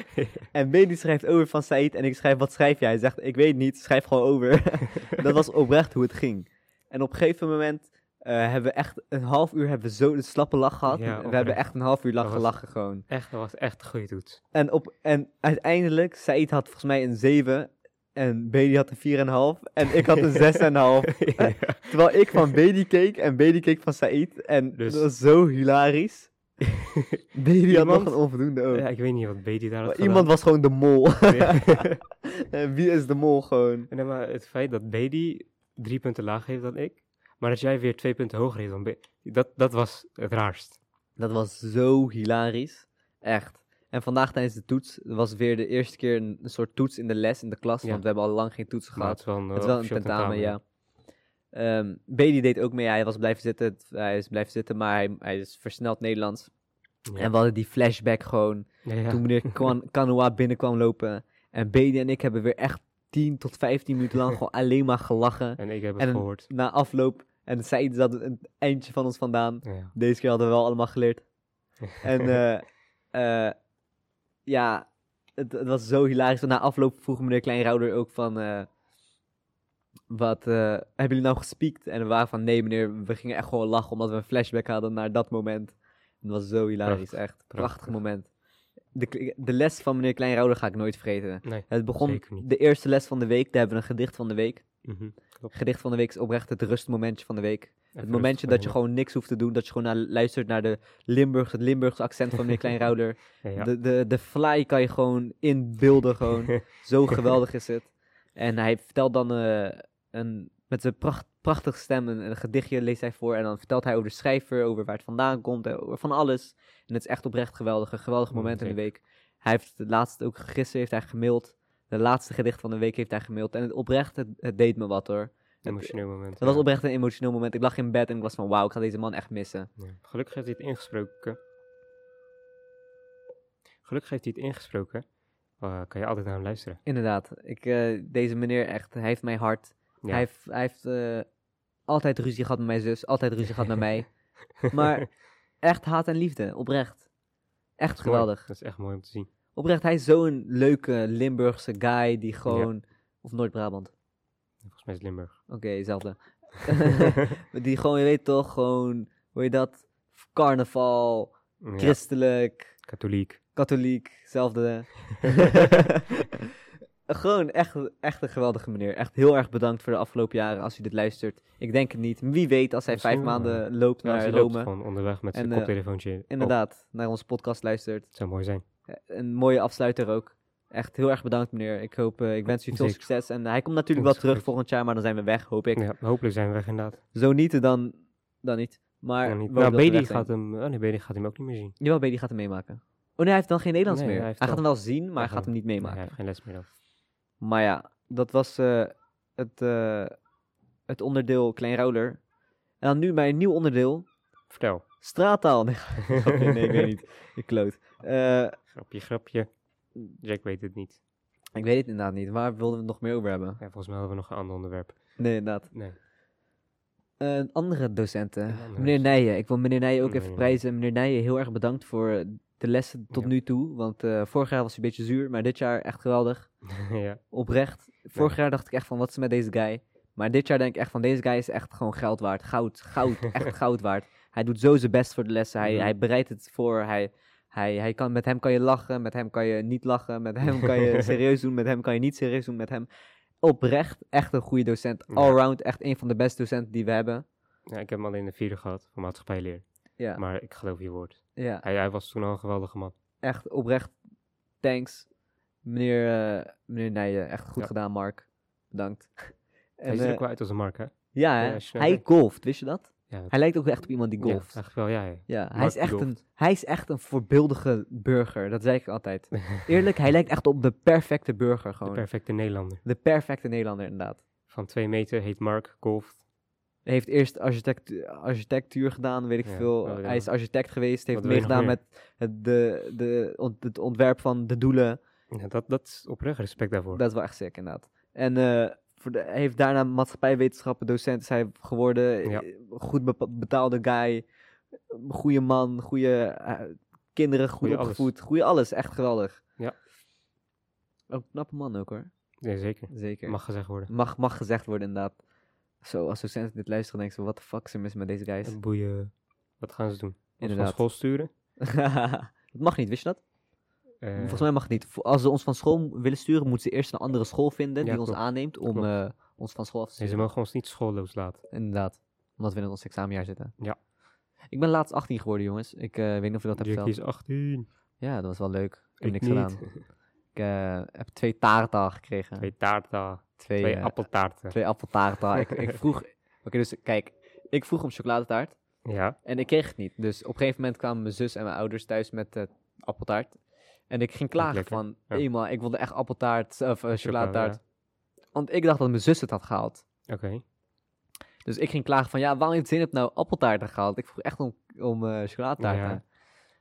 [SPEAKER 1] En Bedi schrijft over van Said en ik schrijf, wat schrijf jij? Hij zegt, ik weet niet, schrijf gewoon over. dat was oprecht hoe het ging. En op een gegeven moment eh, hebben we echt een half uur hebben we zo een slappe lach gehad.
[SPEAKER 2] Ja,
[SPEAKER 1] we
[SPEAKER 2] oprecht.
[SPEAKER 1] hebben echt een half uur lang
[SPEAKER 2] Dat was-
[SPEAKER 1] gelachen gewoon.
[SPEAKER 2] Echt, dat was echt een goede toets.
[SPEAKER 1] En, op, en uiteindelijk, Said had volgens mij een 7 en Bedi had een 4,5 en ik had een 6,5. Terwijl ik van Bedi keek en Bedi keek van Said en
[SPEAKER 2] Dus-
[SPEAKER 1] dat was zo hilarisch. Bedi had nog
[SPEAKER 2] Iemand-
[SPEAKER 1] een onvoldoende ook.
[SPEAKER 2] Ja, ik weet niet wat Bedi daar
[SPEAKER 1] maar
[SPEAKER 2] had
[SPEAKER 1] iemand was gewoon de mol.
[SPEAKER 2] gedaan.
[SPEAKER 1] en wie is de mol gewoon?
[SPEAKER 2] En dan maar het feit dat Bedi drie punten lager heeft dan ik, maar dat jij weer twee punten hoger heeft dan Bedi, dat, dat was het raarst.
[SPEAKER 1] Dat was zo hilarisch. Echt. En vandaag tijdens de toets was weer de eerste keer een, een soort toets in de les in de klas.
[SPEAKER 2] Ja.
[SPEAKER 1] Want we hebben al lang geen toetsen
[SPEAKER 2] Maar
[SPEAKER 1] gehad.
[SPEAKER 2] het is wel een,
[SPEAKER 1] Het is wel een
[SPEAKER 2] officieel
[SPEAKER 1] tentamen, ja. Ehm Bailey deed ook mee. Hij was blijven zitten. Het- Hij is blijven zitten, maar hij, hij is versneld Nederlands.
[SPEAKER 2] Ja.
[SPEAKER 1] En we hadden die flashback gewoon.
[SPEAKER 2] Ja, ja.
[SPEAKER 1] Toen meneer Kwan- Kanoa binnenkwam lopen. En Bailey en ik hebben weer echt 10 tot 15 minuten lang gewoon alleen maar gelachen.
[SPEAKER 2] En ik heb
[SPEAKER 1] en
[SPEAKER 2] het
[SPEAKER 1] een-
[SPEAKER 2] gehoord.
[SPEAKER 1] Na afloop. En Said zat een eindje van ons vandaan.
[SPEAKER 2] Ja.
[SPEAKER 1] Deze keer hadden we wel allemaal geleerd. En eh, eh, ja, het, het was zo hilarisch. Want na afloop vroeg meneer Kleinrouder ook van... eh, wat, eh, hebben jullie nou gespiekt? En we waren van, nee meneer, we gingen echt gewoon lachen... omdat we een flashback hadden naar dat moment. Het was zo hilarisch,
[SPEAKER 2] Prachtig,
[SPEAKER 1] echt. Prachtig,
[SPEAKER 2] prachtig.
[SPEAKER 1] moment. De, kle- de les van meneer Kleinrouder ga ik nooit vergeten.
[SPEAKER 2] nee.
[SPEAKER 1] Het begon
[SPEAKER 2] Zeker niet.
[SPEAKER 1] de eerste les van de week. Daar hebben we een gedicht van de week.
[SPEAKER 2] Mhm.
[SPEAKER 1] Gedicht van de week is oprecht het rustmomentje van de week.
[SPEAKER 2] Even
[SPEAKER 1] Het momentje dat je
[SPEAKER 2] rustig
[SPEAKER 1] gewoon niks hoeft te doen, dat je gewoon naar, luistert naar de Limburg, het Limburgse accent van meneer Kleinrouder.
[SPEAKER 2] beginnen. Ja,
[SPEAKER 1] De, de, de fly kan je gewoon inbeelden, gewoon. Zo geweldig is het. En hij vertelt dan eh, een, met zijn pracht, prachtige stem een, een gedichtje leest hij voor. En dan vertelt hij over de schrijver, over waar het vandaan komt, eh, over van alles. En het is echt oprecht geweldig, een geweldig
[SPEAKER 2] Mm,
[SPEAKER 1] moment in de week. Hij heeft de laatste, ook gisteren heeft hij gemaild. De laatste gedicht van de week heeft hij gemaild. En het oprecht, het, het deed me wat hoor.
[SPEAKER 2] een emotioneel moment.
[SPEAKER 1] Dat was
[SPEAKER 2] ja.
[SPEAKER 1] oprecht een emotioneel moment. Ik lag in bed en ik was van, wauw, ik ga deze man echt missen.
[SPEAKER 2] Ja. Gelukkig heeft hij het ingesproken. Gelukkig heeft hij het ingesproken. Eh, kan je altijd naar hem luisteren.
[SPEAKER 1] Inderdaad, ik, eh, deze meneer echt, hij heeft mijn hart.
[SPEAKER 2] Ja.
[SPEAKER 1] Hij heeft, hij heeft eh, altijd ruzie gehad met mijn zus, altijd ruzie gehad met mij. Maar echt haat en liefde, oprecht. Echt
[SPEAKER 2] Mooi.
[SPEAKER 1] geweldig.
[SPEAKER 2] Dat is echt mooi om te zien.
[SPEAKER 1] Oprecht, hij is zo'n leuke Limburgse guy die gewoon... Of Noord-Brabant.
[SPEAKER 2] Volgens mij is het Limburg.
[SPEAKER 1] Oké, hetzelfde. die gewoon, je weet toch, gewoon... Hoe je dat? Carnaval,
[SPEAKER 2] Ja,
[SPEAKER 1] christelijk...
[SPEAKER 2] Katholiek.
[SPEAKER 1] katholiek, zelfde. Gewoon echt, echt een geweldige meneer. Echt heel erg bedankt voor de afgelopen jaren als u dit luistert. Ik denk het niet. Wie weet als hij vijf
[SPEAKER 2] Misschien,
[SPEAKER 1] maanden loopt
[SPEAKER 2] Ja,
[SPEAKER 1] naar
[SPEAKER 2] ze loopt
[SPEAKER 1] Rome.
[SPEAKER 2] gewoon onderweg met zijn
[SPEAKER 1] En, eh,
[SPEAKER 2] koptelefoontje. op.
[SPEAKER 1] Inderdaad, naar onze podcast luistert.
[SPEAKER 2] Het zou mooi zijn.
[SPEAKER 1] Eh, Een mooie afsluiter ook. Echt heel erg bedankt meneer. Ik, hoop, eh, ik wens u veel
[SPEAKER 2] Zeker.
[SPEAKER 1] succes. En eh, hij komt natuurlijk wel
[SPEAKER 2] Komt zo
[SPEAKER 1] terug
[SPEAKER 2] goed.
[SPEAKER 1] volgend jaar, maar dan zijn we weg, hoop ik.
[SPEAKER 2] Ja, hopelijk zijn we weg inderdaad.
[SPEAKER 1] Zo niet, dan, dan niet. Maar
[SPEAKER 2] Maar
[SPEAKER 1] we
[SPEAKER 2] niet.
[SPEAKER 1] hopen
[SPEAKER 2] Nou,
[SPEAKER 1] dat we
[SPEAKER 2] Bedi
[SPEAKER 1] weg zijn.
[SPEAKER 2] gaat hem... Oh nee, Bedi gaat hem ook niet meer zien.
[SPEAKER 1] Jawel, Bedi gaat hem meemaken. Oh nee, hij heeft dan geen Nederlands
[SPEAKER 2] Nee,
[SPEAKER 1] meer.
[SPEAKER 2] hij
[SPEAKER 1] Hij,
[SPEAKER 2] heeft
[SPEAKER 1] gaat
[SPEAKER 2] dan-
[SPEAKER 1] hem wel zien, maar hij
[SPEAKER 2] hij
[SPEAKER 1] gaat
[SPEAKER 2] gaat-
[SPEAKER 1] hem niet
[SPEAKER 2] Nee,
[SPEAKER 1] meemaken.
[SPEAKER 2] hij heeft geen les meer dan.
[SPEAKER 1] Maar ja, dat was eh, het, eh, het onderdeel Klein Rouwler. En dan nu mijn nieuw onderdeel,
[SPEAKER 2] Vertel.
[SPEAKER 1] straattaal. Nee, grapje, nee ik weet niet. Ik kloot. Eh,
[SPEAKER 2] Grapje, grapje. Jack weet het niet.
[SPEAKER 1] ik weet het inderdaad niet. Waar wilden we het nog meer over hebben?
[SPEAKER 2] Ja, volgens mij hadden we nog een ander onderwerp.
[SPEAKER 1] Nee, inderdaad.
[SPEAKER 2] Nee.
[SPEAKER 1] Eh, een andere docenten.
[SPEAKER 2] Een andere
[SPEAKER 1] Eh, meneer
[SPEAKER 2] docent.
[SPEAKER 1] Nijen. Ik wil meneer Nijen ook
[SPEAKER 2] Meneer
[SPEAKER 1] even
[SPEAKER 2] Nijen.
[SPEAKER 1] prijzen. Meneer Nijen, heel erg bedankt voor eh, de lessen tot
[SPEAKER 2] Ja.
[SPEAKER 1] nu toe. Want eh, vorig jaar was hij een beetje zuur, maar dit jaar echt geweldig.
[SPEAKER 2] ja.
[SPEAKER 1] Oprecht. Vorig jaar dacht ik echt van, wat is er met deze guy? Maar dit jaar denk ik echt van, deze guy is echt gewoon geld waard. Goud, goud, echt goud waard. Hij doet zo zijn best voor de lessen. Hij,
[SPEAKER 2] Mhm.
[SPEAKER 1] hij bereidt het voor. Hij, hij, hij kan, met hem kan je lachen, met hem kan je niet lachen. Met hem kan je serieus doen, met hem kan je niet serieus doen. Met hem oprecht echt een goede docent.
[SPEAKER 2] Ja.
[SPEAKER 1] Allround echt een van de beste docenten die we hebben.
[SPEAKER 2] Ja, ik heb hem alleen in de vierde gehad, van maatschappijleer.
[SPEAKER 1] Ja,
[SPEAKER 2] Maar ik geloof je woord.
[SPEAKER 1] ja.
[SPEAKER 2] Hij, hij was toen al een geweldige man.
[SPEAKER 1] echt oprecht thanks, meneer, eh, meneer Nijen. Echt goed
[SPEAKER 2] Ja.
[SPEAKER 1] gedaan, Mark. Bedankt. En,
[SPEAKER 2] hij ziet er
[SPEAKER 1] eh,
[SPEAKER 2] ook wel uit als een mark, hè?
[SPEAKER 1] ja, hè?
[SPEAKER 2] ja, snel,
[SPEAKER 1] hij
[SPEAKER 2] hè?
[SPEAKER 1] golft, wist je dat?
[SPEAKER 2] Ja,
[SPEAKER 1] Hij lijkt ook echt op iemand die
[SPEAKER 2] ja,
[SPEAKER 1] golft.
[SPEAKER 2] eigenlijk wel, ja. ja.
[SPEAKER 1] Ja, hij
[SPEAKER 2] Mark
[SPEAKER 1] is, echt
[SPEAKER 2] Rudolph.
[SPEAKER 1] een, hij is echt een voorbeeldige burger. Dat zei ik altijd. Eerlijk, hij lijkt echt op de perfecte burger
[SPEAKER 2] De
[SPEAKER 1] gewoon. De,
[SPEAKER 2] perfecte Nederlander.
[SPEAKER 1] perfecte Nederlander inderdaad.
[SPEAKER 2] Van twee meter heet Mark, golft.
[SPEAKER 1] Hij heeft eerst architectu- architectuur gedaan, weet ik
[SPEAKER 2] Ja,
[SPEAKER 1] veel.
[SPEAKER 2] wel, ja.
[SPEAKER 1] Hij is architect geweest, heeft
[SPEAKER 2] Wat wil je nog
[SPEAKER 1] meegedaan met het, de, de, ont- het ontwerp van de doelen.
[SPEAKER 2] Ja, dat, dat is oprecht respect daarvoor.
[SPEAKER 1] Dat is wel echt sick inderdaad. En eh, voor de, hij heeft daarna maatschappijwetenschappen docent is hij geworden.
[SPEAKER 2] Ja.
[SPEAKER 1] Eh, Goed bepa- betaalde guy. Goede man, goede eh, kinderen, goed
[SPEAKER 2] Goeie alles.
[SPEAKER 1] opgevoed. Goede alles, echt geweldig.
[SPEAKER 2] Ja.
[SPEAKER 1] Ook knappe man ook hoor,
[SPEAKER 2] Ja, zeker.
[SPEAKER 1] zeker.
[SPEAKER 2] Mag gezegd worden.
[SPEAKER 1] mag, mag gezegd worden inderdaad. Zo, als docenten dit luisteren, denken ze, wat de fuck is er mis met deze guys?
[SPEAKER 2] Boeien. Wat gaan ze doen? Ons
[SPEAKER 1] Inderdaad.
[SPEAKER 2] Van school sturen?
[SPEAKER 1] dat mag niet, wist je dat?
[SPEAKER 2] Eh,
[SPEAKER 1] Volgens mij mag het niet. Vo- Als ze ons van school willen sturen, moeten ze eerst een andere school vinden
[SPEAKER 2] Ja,
[SPEAKER 1] die ons
[SPEAKER 2] klopt.
[SPEAKER 1] aanneemt om
[SPEAKER 2] Klopt.
[SPEAKER 1] eh, ons van school af te
[SPEAKER 2] nee, ze
[SPEAKER 1] sturen.
[SPEAKER 2] mogen ons niet schoolloos laten.
[SPEAKER 1] Inderdaad. Omdat we in ons examenjaar zitten.
[SPEAKER 2] Ja.
[SPEAKER 1] Ik ben laatst 18 geworden, jongens. Ik eh, weet niet of je dat hebt
[SPEAKER 2] Jackie
[SPEAKER 1] verteld.
[SPEAKER 2] is 18.
[SPEAKER 1] Ja, dat was wel leuk. Ik heb
[SPEAKER 2] Ik
[SPEAKER 1] niks
[SPEAKER 2] niet.
[SPEAKER 1] gedaan. Ik eh, heb twee taarten gekregen.
[SPEAKER 2] Twee taarten.
[SPEAKER 1] Twee,
[SPEAKER 2] Twee
[SPEAKER 1] eh,
[SPEAKER 2] appeltaarten.
[SPEAKER 1] twee appeltaarten. ik, ik vroeg... Oké, dus kijk. Ik vroeg om chocoladetaart.
[SPEAKER 2] Ja.
[SPEAKER 1] En ik kreeg het niet. Dus op een gegeven moment kwamen mijn zus en mijn ouders thuis met eh, appeltaart. En ik ging klagen
[SPEAKER 2] lekker.
[SPEAKER 1] van...
[SPEAKER 2] Ja.
[SPEAKER 1] Eenmaal, ik wilde echt appeltaart of eh, chocoladetaart.
[SPEAKER 2] ja.
[SPEAKER 1] Want ik dacht dat mijn zus het had gehaald.
[SPEAKER 2] Oké.
[SPEAKER 1] Dus ik ging klagen van, ja, waarom heeft zin hebt nou appeltaarten gehaald? Ik vroeg echt om, om eh, chocoladetaarten.
[SPEAKER 2] Ja.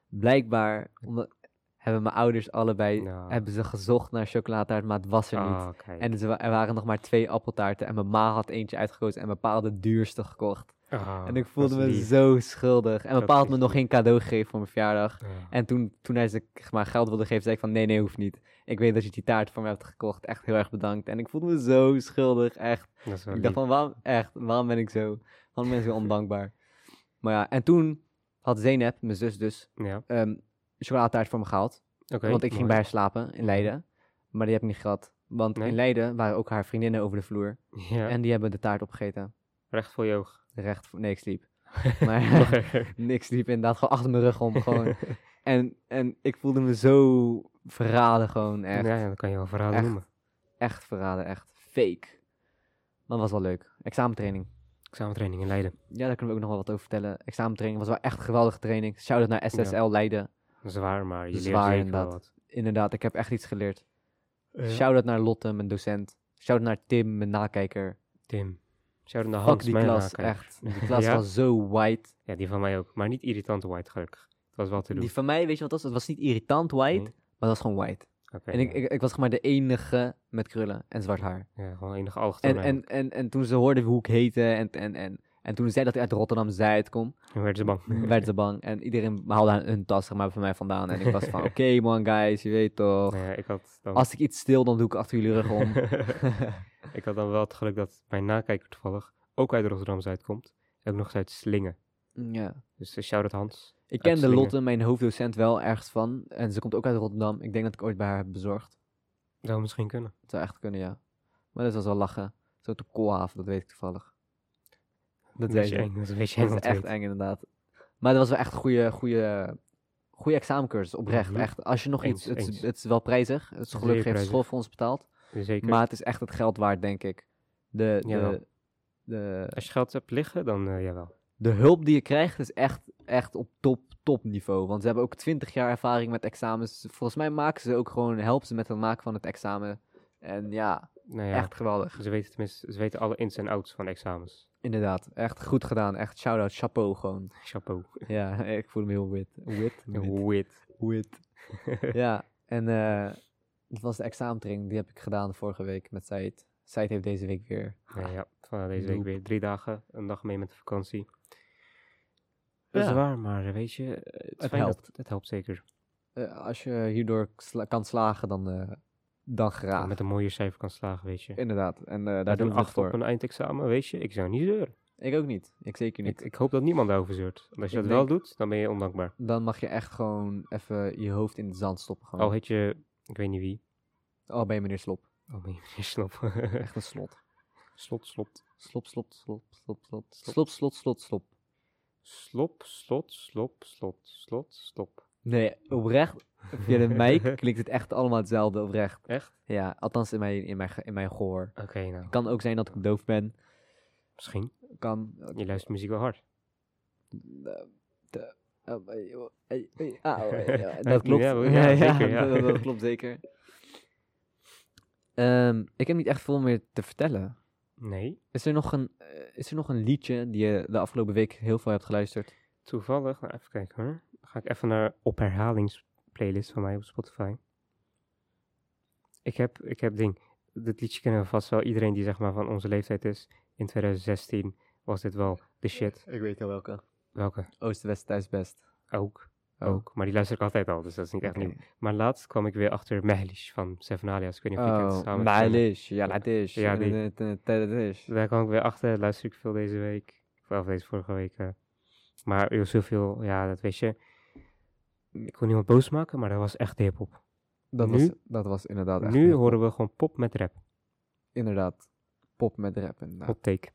[SPEAKER 1] Blijkbaar omdat, hebben mijn ouders allebei,
[SPEAKER 2] Nou.
[SPEAKER 1] hebben ze gezocht naar chocoladetaart, maar het was er niet.
[SPEAKER 2] Ah, kijk.
[SPEAKER 1] En ze wa- er waren nog maar twee appeltaarten en mijn ma had eentje uitgekozen en mijn pa had de duurste gekocht.
[SPEAKER 2] Ah,
[SPEAKER 1] en ik
[SPEAKER 2] dat
[SPEAKER 1] voelde
[SPEAKER 2] is
[SPEAKER 1] me
[SPEAKER 2] lief.
[SPEAKER 1] zo schuldig. En mijn
[SPEAKER 2] Dat
[SPEAKER 1] pa had
[SPEAKER 2] is
[SPEAKER 1] me nog
[SPEAKER 2] lief.
[SPEAKER 1] geen cadeau gegeven voor mijn verjaardag.
[SPEAKER 2] Ah.
[SPEAKER 1] En toen, toen hij ze zeg maar geld wilde geven, zei ik van nee, nee, hoeft niet. Ik weet dat je die taart voor me hebt gekocht. Echt heel erg bedankt. En ik voelde me zo schuldig, echt.
[SPEAKER 2] Dat is wel
[SPEAKER 1] Ik dacht
[SPEAKER 2] lief.
[SPEAKER 1] van, waarom, echt, waarom ben ik zo, waarom ben ik zo ondankbaar? Maar ja, en toen had Zeynep, mijn zus dus,
[SPEAKER 2] Ja.
[SPEAKER 1] ehm chocoladetaart voor me gehaald.
[SPEAKER 2] Oké.
[SPEAKER 1] want ik ging
[SPEAKER 2] mooi.
[SPEAKER 1] bij haar slapen in Leiden. Maar die heb ik niet gehad. Want
[SPEAKER 2] Nee?
[SPEAKER 1] in Leiden waren ook haar vriendinnen over de vloer.
[SPEAKER 2] Ja.
[SPEAKER 1] En die hebben de taart opgegeten.
[SPEAKER 2] Recht voor je oog.
[SPEAKER 1] Recht voor... Nee, ik sliep. Maar
[SPEAKER 2] Nog erger.
[SPEAKER 1] niks sliep inderdaad gewoon achter mijn rug om. Gewoon. En, en ik voelde me zo verraden gewoon. Echt,
[SPEAKER 2] Ja, ja, dat kan je wel verraden
[SPEAKER 1] Echt.
[SPEAKER 2] noemen.
[SPEAKER 1] echt verraden. Echt fake. Maar het was wel leuk. Examentraining.
[SPEAKER 2] Examentraining in Leiden.
[SPEAKER 1] Ja, daar kunnen we ook nog wel wat over vertellen. Examentraining was wel echt een geweldige training. Shout-out naar SSL Leiden.
[SPEAKER 2] Zwaar, maar je
[SPEAKER 1] Zwaar,
[SPEAKER 2] leert zeker wel
[SPEAKER 1] inderdaad.
[SPEAKER 2] wat.
[SPEAKER 1] Inderdaad, ik heb echt iets geleerd.
[SPEAKER 2] Ja.
[SPEAKER 1] Shout-out naar Lotte, mijn docent. Shout-out naar Tim, mijn nakijker.
[SPEAKER 2] Tim. Shout-out naar
[SPEAKER 1] Fuck
[SPEAKER 2] Hans,
[SPEAKER 1] die
[SPEAKER 2] mijn
[SPEAKER 1] klas,
[SPEAKER 2] haker.
[SPEAKER 1] echt. Die klas
[SPEAKER 2] Ja?
[SPEAKER 1] was zo white.
[SPEAKER 2] Ja, die van mij ook. Maar niet irritant white, gelukkig. Het was wel te doen.
[SPEAKER 1] Die van mij, weet je wat het was? Het was niet irritant white,
[SPEAKER 2] Nee.
[SPEAKER 1] maar het was gewoon white.
[SPEAKER 2] Oké,
[SPEAKER 1] En ik,
[SPEAKER 2] ja.
[SPEAKER 1] ik, ik was zeg maar de enige met krullen en zwart haar.
[SPEAKER 2] Ja, gewoon enige
[SPEAKER 1] En,
[SPEAKER 2] algemeen.
[SPEAKER 1] en, en, en toen ze hoorden hoe ik heette en, en, en, en toen zei dat ik uit Rotterdam-Zuid kom,
[SPEAKER 2] En werd ze bang.
[SPEAKER 1] werd ze bang. En iedereen haalde haar hun tas zeg maar, van mij vandaan. En ik was van, oké man guys, je weet toch.
[SPEAKER 2] Ja, ik had dan...
[SPEAKER 1] Als ik iets stil, dan doe ik achter jullie rug om.
[SPEAKER 2] ik had dan wel het geluk dat mijn nakijker toevallig ook uit Rotterdam-Zuid komt. En ook nog eens uit Slingen.
[SPEAKER 1] ja.
[SPEAKER 2] Dus eh, shout-out Hans.
[SPEAKER 1] Ik kende
[SPEAKER 2] Slingen.
[SPEAKER 1] Lotte, mijn hoofddocent, wel ergens van. En ze komt ook uit Rotterdam. Ik denk dat ik ooit bij haar heb bezorgd.
[SPEAKER 2] Zou misschien kunnen.
[SPEAKER 1] Het zou echt kunnen, ja. Maar dat was wel lachen. Zo op Koolhaven, dat weet ik toevallig. Dat
[SPEAKER 2] weet
[SPEAKER 1] weet
[SPEAKER 2] je
[SPEAKER 1] ik.
[SPEAKER 2] eng. Dat is
[SPEAKER 1] Dat is echt
[SPEAKER 2] echt
[SPEAKER 1] eng, inderdaad. Maar dat was wel echt een goede, goede, goede examencursus, oprecht.
[SPEAKER 2] Mhm.
[SPEAKER 1] Echt, als je nog iets... Het,
[SPEAKER 2] Eens,
[SPEAKER 1] is-
[SPEAKER 2] eens.
[SPEAKER 1] het is wel prijzig. Het is
[SPEAKER 2] Zeer
[SPEAKER 1] gelukkig heeft de
[SPEAKER 2] prijzig.
[SPEAKER 1] school voor ons betaald.
[SPEAKER 2] Zeker.
[SPEAKER 1] Maar het is echt het geld waard, denk ik. De,
[SPEAKER 2] Jawel.
[SPEAKER 1] de, de,
[SPEAKER 2] Als je geld hebt liggen, dan eh, jawel.
[SPEAKER 1] de hulp die je krijgt is echt, echt op top, topniveau. Want ze hebben ook 20 jaar ervaring met examens. Volgens mij maken ze ook gewoon, helpen ze met het maken van het examen. En ja,
[SPEAKER 2] Nou ja,
[SPEAKER 1] echt geweldig.
[SPEAKER 2] ze weten tenminste, ze weten alle ins en outs van examens.
[SPEAKER 1] Inderdaad, echt goed gedaan. Echt shout-out, chapeau gewoon.
[SPEAKER 2] Chapeau.
[SPEAKER 1] ja, ik voel me heel wit. Wit? Wit.
[SPEAKER 2] Wit.
[SPEAKER 1] wit. ja, en eh, dat was de examentraining. Die heb ik gedaan vorige week met Said. Said heeft deze week weer.
[SPEAKER 2] Nou ja, van deze week
[SPEAKER 1] Noep.
[SPEAKER 2] weer drie dagen. Een dag mee met de vakantie. Dat is
[SPEAKER 1] Ja.
[SPEAKER 2] waar, maar eh, weet je, eh, het,
[SPEAKER 1] Het
[SPEAKER 2] is fijn dat-
[SPEAKER 1] helpt.
[SPEAKER 2] het helpt zeker.
[SPEAKER 1] Eh, als je hierdoor sla- kan slagen, dan, eh, dan graag.
[SPEAKER 2] Met een mooie cijfer kan slagen, weet je.
[SPEAKER 1] Inderdaad, en eh, daar
[SPEAKER 2] Met
[SPEAKER 1] doen
[SPEAKER 2] een
[SPEAKER 1] we het
[SPEAKER 2] acht
[SPEAKER 1] voor.
[SPEAKER 2] op een eindexamen, weet je, ik zou niet zeuren.
[SPEAKER 1] Ik ook niet. Ik zeker niet.
[SPEAKER 2] Ik, ik hoop dat niemand daarover zeurt. Want als je
[SPEAKER 1] Ik
[SPEAKER 2] dat wel doet, dan ben je ondankbaar.
[SPEAKER 1] Dan mag je echt gewoon even je hoofd in het zand stoppen. Gewoon.
[SPEAKER 2] Al heet je, ik weet niet wie.
[SPEAKER 1] Oh, ben je meneer Slop.
[SPEAKER 2] Oh, ben je meneer Slop.
[SPEAKER 1] Echt een slot.
[SPEAKER 2] slot, slot.
[SPEAKER 1] Slop, slop, slop, slop, slop. Slop, slot, slot, slop.
[SPEAKER 2] Slop, slot, slop, slot, slot, stop.
[SPEAKER 1] Nee, oprecht. Via de mic klinkt het echt allemaal hetzelfde oprecht.
[SPEAKER 2] Echt?
[SPEAKER 1] Ja, althans in mijn, in mijn, ge- in mijn gehoor.
[SPEAKER 2] Oké, nou,
[SPEAKER 1] kan ook zijn dat ik doof ben.
[SPEAKER 2] misschien.
[SPEAKER 1] Kan. eh,
[SPEAKER 2] Je luistert muziek wel hard.
[SPEAKER 1] oh, eh, ah, Dat klopt.
[SPEAKER 2] Ja, ja, zeker, ja.
[SPEAKER 1] dat, dat klopt zeker. Ehm, ik heb niet echt veel meer te vertellen.
[SPEAKER 2] Nee,
[SPEAKER 1] Is er nog een, eh, is er nog een liedje die je de afgelopen week heel veel hebt geluisterd?
[SPEAKER 2] toevallig. Nou, even kijken hoor. Dan ga ik even naar op herhalingsplaylist van mij op Spotify. Ik heb, ik heb ding. Dit liedje kennen we vast wel. Iedereen die zeg maar van onze leeftijd is. In 2016 was dit wel de shit.
[SPEAKER 1] Ik weet wel welke.
[SPEAKER 2] Welke?
[SPEAKER 1] Oost-West thuis best.
[SPEAKER 2] Ook.
[SPEAKER 1] Oh.
[SPEAKER 2] Ook. Maar die luister Oh, ik altijd al, dus dat is niet echt nieuw. Maar laatst kwam ik weer achter Mehlish van Sevenalia's. Ik weet niet of je het
[SPEAKER 1] Oh,
[SPEAKER 2] samen
[SPEAKER 1] Malish. Ja, dat is.
[SPEAKER 2] Ja, die.
[SPEAKER 1] Eh, eh, eh, eh,
[SPEAKER 2] Daar kwam ik weer achter. Luister ik veel deze week. Of deze vorige week. eh. Maar heel zoveel, ja, dat weet je. Ik wil niemand boos maken, maar dat was echt hip-hop.
[SPEAKER 1] Dat,
[SPEAKER 2] Nu-
[SPEAKER 1] was, dat was inderdaad echt...
[SPEAKER 2] Nu
[SPEAKER 1] heel-
[SPEAKER 2] horen we gewoon pop met rap.
[SPEAKER 1] Inderdaad. Pop met rap inderdaad.
[SPEAKER 2] Hot take.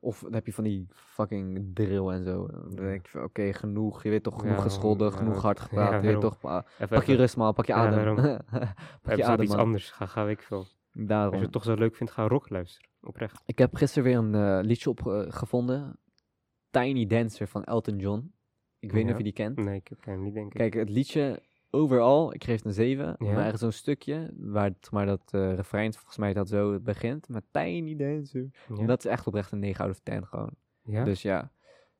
[SPEAKER 1] Of dan heb je van die fucking drill en zo. Dan denk ik van, oké, genoeg. Je weet toch, genoeg
[SPEAKER 2] Ja,
[SPEAKER 1] gescholden,
[SPEAKER 2] ja,
[SPEAKER 1] genoeg hard gepraat. je
[SPEAKER 2] daarom.
[SPEAKER 1] weet toch, pa-
[SPEAKER 2] Even,
[SPEAKER 1] pak je
[SPEAKER 2] even-
[SPEAKER 1] rust man, pak je
[SPEAKER 2] Ja,
[SPEAKER 1] adem.
[SPEAKER 2] daarom.
[SPEAKER 1] pak je
[SPEAKER 2] even op
[SPEAKER 1] adem
[SPEAKER 2] iets
[SPEAKER 1] man.
[SPEAKER 2] anders. Ga, ga ik veel. Als
[SPEAKER 1] Daarom.
[SPEAKER 2] je het toch zo leuk vindt, ga rock luisteren. Oprecht.
[SPEAKER 1] Ik heb gisteren weer een eh, liedje opgevonden. Tiny Dancer van Elton John. Ik weet niet
[SPEAKER 2] Ja.
[SPEAKER 1] of je die kent.
[SPEAKER 2] Nee, ik ken hem niet, denk ik.
[SPEAKER 1] Kijk, het liedje overal, ik geef het een 7.
[SPEAKER 2] Ja.
[SPEAKER 1] Maar er is zo'n stukje waar het, maar dat eh refrein, volgens mij dat zo begint. Maar Tiny Dancer.
[SPEAKER 2] Ja?
[SPEAKER 1] En dat is echt oprecht een 9 out of 10 gewoon.
[SPEAKER 2] Ja?
[SPEAKER 1] Dus ja.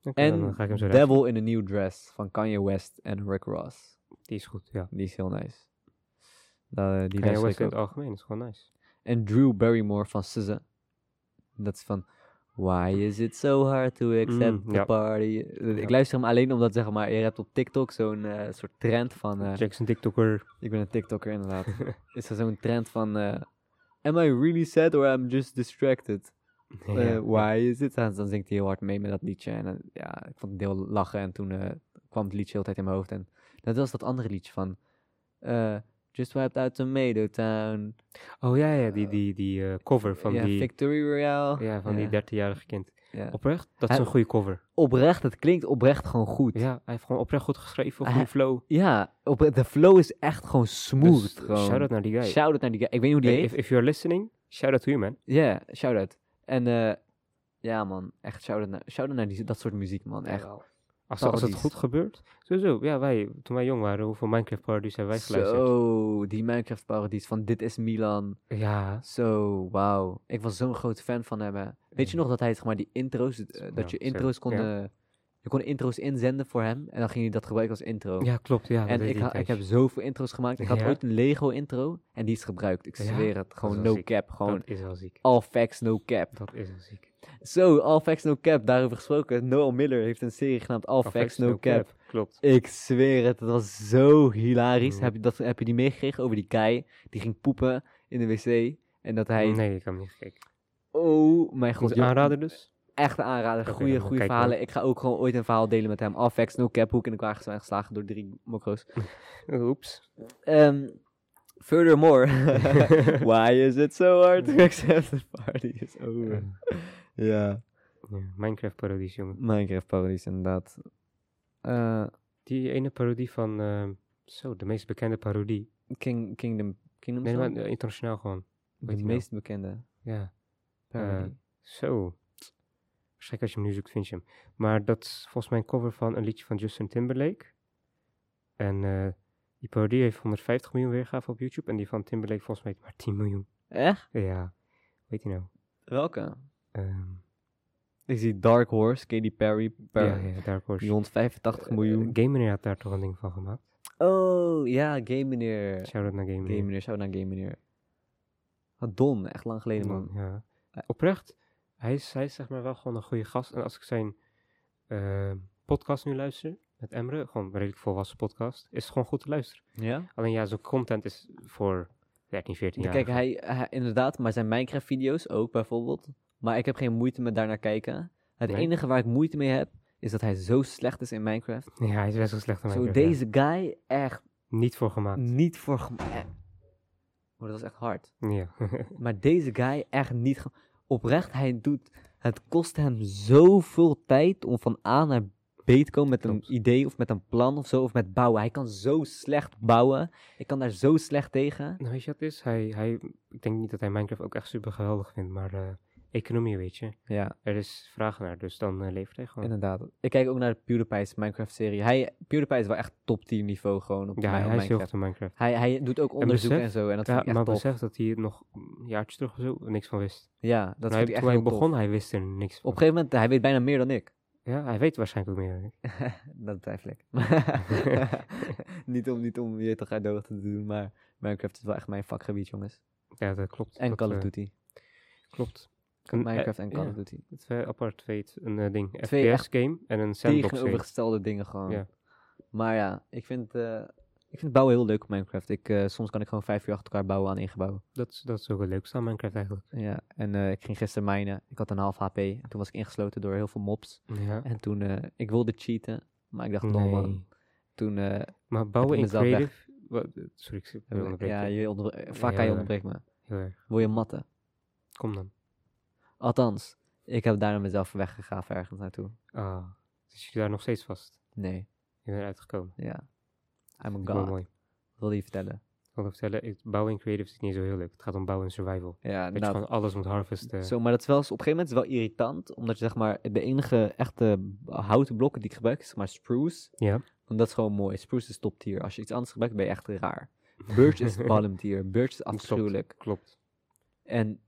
[SPEAKER 2] Oké,
[SPEAKER 1] En
[SPEAKER 2] dan ga ik hem zo luisteren.
[SPEAKER 1] Devil in a New Dress van Kanye West en Rick Ross.
[SPEAKER 2] Die is goed, ja.
[SPEAKER 1] Die is heel nice. Da- die
[SPEAKER 2] Kanye
[SPEAKER 1] luister ik
[SPEAKER 2] West in het
[SPEAKER 1] ook.
[SPEAKER 2] algemeen is gewoon nice.
[SPEAKER 1] En Drew Barrymore van SZA. Dat is van... Why is it so hard to accept
[SPEAKER 2] Mm,
[SPEAKER 1] the
[SPEAKER 2] ja.
[SPEAKER 1] party? Eh,
[SPEAKER 2] Ja.
[SPEAKER 1] Ik luister hem alleen omdat, zeg maar, je hebt op TikTok zo'n eh, soort trend van... eh,
[SPEAKER 2] Jackson TikToker.
[SPEAKER 1] ik ben een TikToker inderdaad. is er zo'n trend van... eh, Am I really sad or I'm just distracted?
[SPEAKER 2] Ja.
[SPEAKER 1] Eh, why is it? En dan zingt hij heel hard mee met dat liedje. En dan- ja, ik vond het heel lachen. En toen eh, kwam het liedje heel tijd in mijn hoofd. En dat was dat andere liedje van... eh, Just wiped out Tomato Town.
[SPEAKER 2] Oh ja, ja, die, die, die eh, cover van
[SPEAKER 1] ja,
[SPEAKER 2] die...
[SPEAKER 1] Victory Royale.
[SPEAKER 2] Ja, van
[SPEAKER 1] Ja,
[SPEAKER 2] die 13-jarige kind.
[SPEAKER 1] ja.
[SPEAKER 2] Oprecht, dat is
[SPEAKER 1] Hij-
[SPEAKER 2] een goede cover.
[SPEAKER 1] Oprecht, het klinkt oprecht gewoon goed. Ja,
[SPEAKER 2] Ja, hij heeft gewoon oprecht goed geschreven,
[SPEAKER 1] Hij-
[SPEAKER 2] goede flow.
[SPEAKER 1] op, de flow is echt gewoon smooth.
[SPEAKER 2] Dus,
[SPEAKER 1] gewoon.
[SPEAKER 2] shout-out naar die guy.
[SPEAKER 1] Shout-out naar die guy. Ik weet niet hoe die
[SPEAKER 2] Hey,
[SPEAKER 1] heet.
[SPEAKER 2] if, if you're listening, shout-out to you, man.
[SPEAKER 1] Ja, shout-out. En eh, ja man, echt shout-out naar, shout naar die, dat soort muziek man. Echt.
[SPEAKER 2] Als, als het
[SPEAKER 1] Parodies.
[SPEAKER 2] goed gebeurt. Sowieso, ja, wij, toen wij jong waren, hoeveel Minecraft-parodies hebben wij geluisterd?
[SPEAKER 1] Zo, die Minecraft parodies van Dit is Milan.
[SPEAKER 2] Ja,
[SPEAKER 1] Zo, wauw. Ik was zo'n groot fan van hem. hè. Weet je nog dat hij zeg maar die intro's, eh, dat
[SPEAKER 2] Ja,
[SPEAKER 1] je intro's
[SPEAKER 2] zo,
[SPEAKER 1] kon,
[SPEAKER 2] ja.
[SPEAKER 1] eh, je kon intro's inzenden voor hem en dan ging hij dat gebruiken als intro.
[SPEAKER 2] ja klopt. Ja, dat
[SPEAKER 1] en
[SPEAKER 2] deed
[SPEAKER 1] ik,
[SPEAKER 2] hij
[SPEAKER 1] ha- ik heb dus
[SPEAKER 2] tijdens.
[SPEAKER 1] zoveel intro's gemaakt. Ik had
[SPEAKER 2] Ja.
[SPEAKER 1] ooit een Lego intro en die is gebruikt. Ik
[SPEAKER 2] Ja?
[SPEAKER 1] zweer het. Gewoon
[SPEAKER 2] wel
[SPEAKER 1] no
[SPEAKER 2] ziek.
[SPEAKER 1] cap. Gewoon
[SPEAKER 2] Dat is wel ziek.
[SPEAKER 1] all facts, no cap.
[SPEAKER 2] Dat is wel ziek.
[SPEAKER 1] Zo, all facts, no cap. Daarover gesproken. Noel Miller heeft een serie genaamd All, facts, no, cap.
[SPEAKER 2] Klopt.
[SPEAKER 1] Ik zweer het, dat was zo hilarisch.
[SPEAKER 2] Mm.
[SPEAKER 1] Heb, je dat, heb je die meegekregen over die guy die ging poepen in de wc? En dat hij...
[SPEAKER 2] Nee, ik heb hem niet gekeken.
[SPEAKER 1] Oh mijn god.
[SPEAKER 2] Goed
[SPEAKER 1] joh.
[SPEAKER 2] aanraden dus.
[SPEAKER 1] Echt aanraden.
[SPEAKER 2] Oké,
[SPEAKER 1] Goeie,
[SPEAKER 2] dan
[SPEAKER 1] goede
[SPEAKER 2] kijk ik
[SPEAKER 1] verhalen.
[SPEAKER 2] wel.
[SPEAKER 1] Ik ga ook gewoon ooit een verhaal delen met hem. All facts, no cap. Hoe ik in elkaar ges- ben geslagen door drie mokro's.
[SPEAKER 2] Oeps.
[SPEAKER 1] Ehm, furthermore, why is it so hard to accept the party is over?
[SPEAKER 2] Ja,
[SPEAKER 1] Ja.
[SPEAKER 2] Minecraft-parodies, jongen.
[SPEAKER 1] Minecraft parodies inderdaad. Eh,
[SPEAKER 2] Die ene parodie van... ehm, zo, de meest bekende parodie.
[SPEAKER 1] King, Kingdom, Kingdom
[SPEAKER 2] Nee, maar
[SPEAKER 1] Come?
[SPEAKER 2] eh, internationaal gewoon.
[SPEAKER 1] de,
[SPEAKER 2] weet je wel.
[SPEAKER 1] meest bekende
[SPEAKER 2] Ja. Eh,
[SPEAKER 1] parody.
[SPEAKER 2] Zo. Waarschijnlijk als je hem nu zoekt, vind je hem. Maar dat is volgens mij een cover van een liedje van Justin Timberlake. En eh, die parodie heeft 150 miljoen weergave op YouTube. En die van Timberlake volgens mij maar 10 miljoen.
[SPEAKER 1] Echt?
[SPEAKER 2] Ja, weet je nou.
[SPEAKER 1] Welke?
[SPEAKER 2] Ehm,
[SPEAKER 1] Ik zie Dark Horse, Katy Perry, per
[SPEAKER 2] ja, ja, Dark Horse.
[SPEAKER 1] die 185 miljoen.
[SPEAKER 2] Game Meneer had daar toch een ding van gemaakt.
[SPEAKER 1] Eh, oh, ja, Game Meneer.
[SPEAKER 2] Shout-out naar Game
[SPEAKER 1] Game
[SPEAKER 2] Meneer.
[SPEAKER 1] Meneer, shout naar Game Meneer. Ah, Don, echt lang geleden man.
[SPEAKER 2] Ja. Oprecht, hij is, hij is zeg maar wel gewoon een goede gast. En als ik zijn eh, podcast nu luister, met Emre, gewoon een redelijk volwassen podcast, is het gewoon goed te luisteren.
[SPEAKER 1] Ja?
[SPEAKER 2] Alleen ja, zo'n content is voor 13, 14 jaar.
[SPEAKER 1] Kijk, hij, hij- inderdaad, maar zijn Minecraft-video's ook bijvoorbeeld. Maar ik heb geen moeite met daarnaar kijken. Het
[SPEAKER 2] Nee?
[SPEAKER 1] enige waar ik moeite mee heb, is dat hij zo slecht is in Minecraft.
[SPEAKER 2] Ja, hij is best wel slecht aan
[SPEAKER 1] Zo,
[SPEAKER 2] Minecraft, ja.
[SPEAKER 1] deze guy echt
[SPEAKER 2] Niet voor gemaakt.
[SPEAKER 1] niet voor. gem- eh. Maar dat was echt hard.
[SPEAKER 2] Ja.
[SPEAKER 1] Maar deze guy echt niet. ge- Oprecht, hij doet. Het kost hem zoveel tijd om van A naar B te komen met
[SPEAKER 2] Klopt.
[SPEAKER 1] een idee of met een plan of zo, of met bouwen. Hij kan zo slecht bouwen. Ik kan daar zo slecht tegen.
[SPEAKER 2] Nou, weet je wat het is? Hij, hij, ik denk niet dat hij Minecraft ook echt super geweldig vindt, maar eh, economie, weet je.
[SPEAKER 1] Ja,
[SPEAKER 2] Er is vraag naar, dus dan eh, levert hij gewoon.
[SPEAKER 1] inderdaad. Ik kijk ook naar de PewDiePie's Minecraft-serie. Hij, PewDiePie is wel echt top 10 niveau gewoon op
[SPEAKER 2] Ja,
[SPEAKER 1] mij- op
[SPEAKER 2] hij is heel
[SPEAKER 1] Minecraft.
[SPEAKER 2] goed in Minecraft.
[SPEAKER 1] Hij, hij doet ook onderzoek en,
[SPEAKER 2] besef-
[SPEAKER 1] zo. En dat
[SPEAKER 2] Ja,
[SPEAKER 1] vind ik
[SPEAKER 2] maar
[SPEAKER 1] echt tof.
[SPEAKER 2] besef dat hij het nog een jaartje terug of zo niks van wist.
[SPEAKER 1] Ja, dat
[SPEAKER 2] Maar hij,
[SPEAKER 1] vind ik echt
[SPEAKER 2] toen hij
[SPEAKER 1] heel tof.
[SPEAKER 2] begon, hij wist er niks
[SPEAKER 1] Op
[SPEAKER 2] van.
[SPEAKER 1] een gegeven moment, hij weet bijna meer dan ik.
[SPEAKER 2] Ja, hij weet waarschijnlijk ook meer.
[SPEAKER 1] dat twijfel ik. niet, om, niet om weer te gaan dood te doen, maar Minecraft is wel echt mijn vakgebied, jongens.
[SPEAKER 2] Ja, dat klopt.
[SPEAKER 1] En
[SPEAKER 2] dat,
[SPEAKER 1] Call of
[SPEAKER 2] eh,
[SPEAKER 1] Duty.
[SPEAKER 2] Klopt. Een-
[SPEAKER 1] Minecraft
[SPEAKER 2] eh,
[SPEAKER 1] en Call
[SPEAKER 2] ja,
[SPEAKER 1] of Duty.
[SPEAKER 2] Twee apart twee, een eh, ding.
[SPEAKER 1] Twee echt
[SPEAKER 2] FPS-game en een sandbox game.
[SPEAKER 1] Tegenovergestelde dingen gewoon.
[SPEAKER 2] Ja.
[SPEAKER 1] Maar ja, ik vind, eh, ik vind bouwen heel leuk op Minecraft. Ik, eh, soms kan ik gewoon vijf uur achter elkaar bouwen aan één gebouw.
[SPEAKER 2] Dat, is- dat is ook het leukste aan Minecraft eigenlijk.
[SPEAKER 1] Ja, en eh, ik ging gisteren mijnen. Ik had een half HP. En toen was ik ingesloten door heel veel mobs.
[SPEAKER 2] Ja.
[SPEAKER 1] En toen, eh, ik wilde cheaten. Maar ik dacht, nee. man.
[SPEAKER 2] Nee.
[SPEAKER 1] Toen, eh,
[SPEAKER 2] Maar bouwen in
[SPEAKER 1] mezelf weg.
[SPEAKER 2] creative... Wat, sorry, ik zit wil
[SPEAKER 1] ja,
[SPEAKER 2] onderbreken.
[SPEAKER 1] je onder- eh, vaak
[SPEAKER 2] Ja,
[SPEAKER 1] ga je
[SPEAKER 2] ja.
[SPEAKER 1] onderbreekt me.
[SPEAKER 2] Heel erg.
[SPEAKER 1] Wil je matten?
[SPEAKER 2] Kom dan.
[SPEAKER 1] Althans, ik heb daarna mezelf weggegraven ergens naartoe.
[SPEAKER 2] Ah, zit je daar nog steeds vast?
[SPEAKER 1] Nee,
[SPEAKER 2] Je bent uitgekomen.
[SPEAKER 1] ja. I'm
[SPEAKER 2] Dat
[SPEAKER 1] a
[SPEAKER 2] is wel
[SPEAKER 1] god.
[SPEAKER 2] mooi.
[SPEAKER 1] Wilde je vertellen?
[SPEAKER 2] Ik wil vertellen, ik- bouwen in creative is niet zo heel leuk. Het gaat om bouwen in survival.
[SPEAKER 1] Ja, nou,
[SPEAKER 2] Dat je eh, gewoon alles moet harvesten.
[SPEAKER 1] Zo, maar dat is wel, eens- op een gegeven moment is het wel irritant, omdat je zeg maar, de enige echte houten blokken die ik gebruik, is zeg maar spruce.
[SPEAKER 2] Ja.
[SPEAKER 1] Want dat is gewoon mooi. Spruce is top tier. Als je iets anders gebruikt, ben je echt raar. Birch is bottom tier. Birch is afschuwelijk.
[SPEAKER 2] Klopt.
[SPEAKER 1] En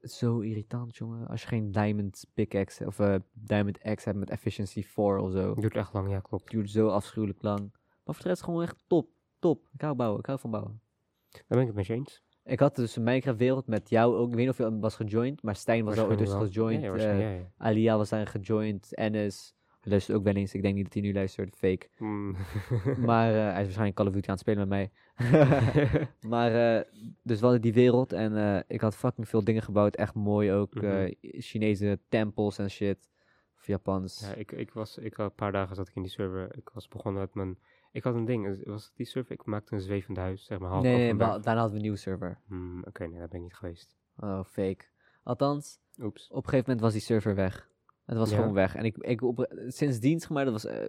[SPEAKER 1] zo irritant, jongen. Als je geen diamond pickaxe of eh, diamond axe hebt met efficiency 4 of zo.
[SPEAKER 2] Duurt echt lang, ja, klopt.
[SPEAKER 1] duurt zo afschuwelijk lang. Maar voor de rest gewoon echt top. Top. Ik hou bouwen. Ik hou van bouwen.
[SPEAKER 2] Daar ben ik het mee eens.
[SPEAKER 1] Ik had dus een Minecraft wereld met jou ook. Ik weet niet of je was gejoind, maar Stijn was al ooit dus
[SPEAKER 2] Waarschijnlijk wel.
[SPEAKER 1] gejoind.
[SPEAKER 2] Ja, ja,
[SPEAKER 1] eh,
[SPEAKER 2] waarschijnlijk, ja, ja.
[SPEAKER 1] Alia was daarin gejoind. Ennis. Hij luistert ook wel eens. Ik denk niet dat hij nu luistert. Fake.
[SPEAKER 2] Mm.
[SPEAKER 1] Maar eh, hij is waarschijnlijk Call of Duty aan het spelen met mij. maar eh, dus we hadden die wereld. En eh, ik had fucking veel dingen gebouwd. Echt mooi ook.
[SPEAKER 2] Mhm.
[SPEAKER 1] eh, Chinese tempels en shit. Of Japans.
[SPEAKER 2] Ja, ik, ik was, ik had een paar dagen zat ik in die server. Ik was begonnen met mijn, ik had een ding, is- was het die server? Ik maakte een zwevend huis, zeg maar half
[SPEAKER 1] nee,
[SPEAKER 2] af
[SPEAKER 1] nee,
[SPEAKER 2] een
[SPEAKER 1] maar
[SPEAKER 2] berg.
[SPEAKER 1] daarna hadden we een nieuwe server.
[SPEAKER 2] Hmm, Oké, nee, daar ben ik niet geweest.
[SPEAKER 1] Oh, fake. Althans,
[SPEAKER 2] Oeps.
[SPEAKER 1] op een gegeven moment was die server weg. Het was
[SPEAKER 2] Ja.
[SPEAKER 1] gewoon weg. En ik, ik op, sindsdien, zeg maar, dat was eh,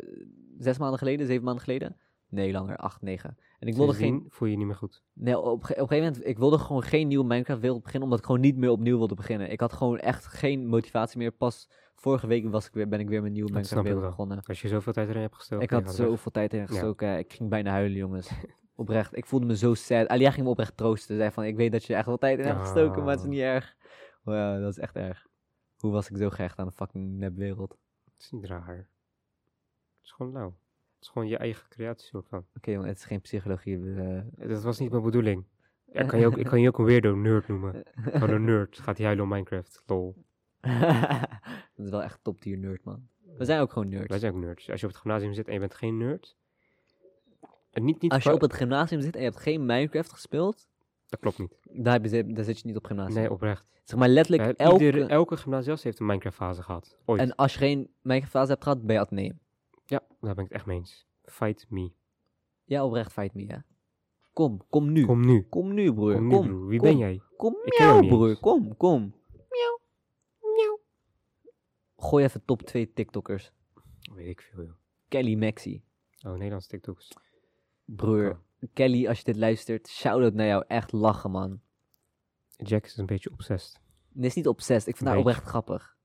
[SPEAKER 1] zes maanden geleden, zeven maanden geleden. Nee, langer, acht, negen. En ik wilde geen.
[SPEAKER 2] Sindsdien voel je je niet meer goed.
[SPEAKER 1] Nee, op, ge- op een gegeven moment, ik wilde gewoon geen nieuwe Minecraft-wereld beginnen, omdat ik gewoon niet meer opnieuw wilde beginnen. Ik had gewoon echt geen motivatie meer. Pas vorige week was ik weer, ben ik weer mijn nieuwe
[SPEAKER 2] Dat snap ik
[SPEAKER 1] Minecraft-wereld
[SPEAKER 2] wel.
[SPEAKER 1] begonnen.
[SPEAKER 2] Als je zoveel tijd erin hebt gestoken.
[SPEAKER 1] Ik
[SPEAKER 2] je
[SPEAKER 1] had
[SPEAKER 2] gaat weg.
[SPEAKER 1] zoveel tijd in gestoken. Ik ging bijna huilen, jongens. Oprecht. Ik voelde me zo sad. Alia ging me oprecht troosten. Zei van, ik weet dat je er echt wel tijd in hebt gestoken, maar het is
[SPEAKER 2] Ah.
[SPEAKER 1] niet erg. Wow, dat is echt erg. Hoe was ik zo gehecht aan een fucking nepwereld?
[SPEAKER 2] Het is niet raar. Het is gewoon lauw. Het is gewoon je eigen creatie soort van.
[SPEAKER 1] Oké, jongen, het is geen psychologie. we,
[SPEAKER 2] Dat was niet mijn bedoeling. Ja, ik kan je ook, ik kan je ook een weirdo nerd noemen.
[SPEAKER 1] eh.
[SPEAKER 2] Gewoon een nerd. Gaat hij huilen om Minecraft. Lol.
[SPEAKER 1] dat eh, is wel echt top tier nerd, man. We zijn ook gewoon nerds.
[SPEAKER 2] Wij zijn ook nerds. Als je op het gymnasium zit en je bent geen nerd. En niet, niet
[SPEAKER 1] Als je
[SPEAKER 2] qua-
[SPEAKER 1] op het gymnasium zit en je hebt geen Minecraft gespeeld,
[SPEAKER 2] Dat klopt niet.
[SPEAKER 1] daar, heb je zit, daar zit je niet op gymnasium.
[SPEAKER 2] Nee, oprecht.
[SPEAKER 1] Zeg maar letterlijk
[SPEAKER 2] Elke,
[SPEAKER 1] elke...
[SPEAKER 2] iedere, elke gymnasiast heeft een Minecraft-fase gehad. Ooit.
[SPEAKER 1] En als je geen Minecraft-fase hebt gehad, ben je ateneum.
[SPEAKER 2] Ja, daar ben ik het echt mee eens. Fight me.
[SPEAKER 1] Ja, oprecht, fight me, hè. Kom, kom nu. Kom,
[SPEAKER 2] Kom nu.
[SPEAKER 1] nu, broer.
[SPEAKER 2] Kom
[SPEAKER 1] Kom,
[SPEAKER 2] nu, broer. Wie
[SPEAKER 1] kom,
[SPEAKER 2] ben jij?
[SPEAKER 1] Kom,
[SPEAKER 2] Ik ken jou
[SPEAKER 1] miauw,
[SPEAKER 2] niet
[SPEAKER 1] broer.
[SPEAKER 2] eens.
[SPEAKER 1] Kom, kom. Miauw. Miauw. Gooi even top 2 TikTokkers.
[SPEAKER 2] Weet ik veel, joh.
[SPEAKER 1] Kelly Maxi.
[SPEAKER 2] Oh, Nederlandse TikToks.
[SPEAKER 1] Broer, Kelly, als je dit luistert, shout-out naar jou. Echt lachen, man.
[SPEAKER 2] Jack is een beetje obsessed.
[SPEAKER 1] Dit is niet obsessed. Ik vind haar
[SPEAKER 2] Beetje.
[SPEAKER 1] oprecht grappig.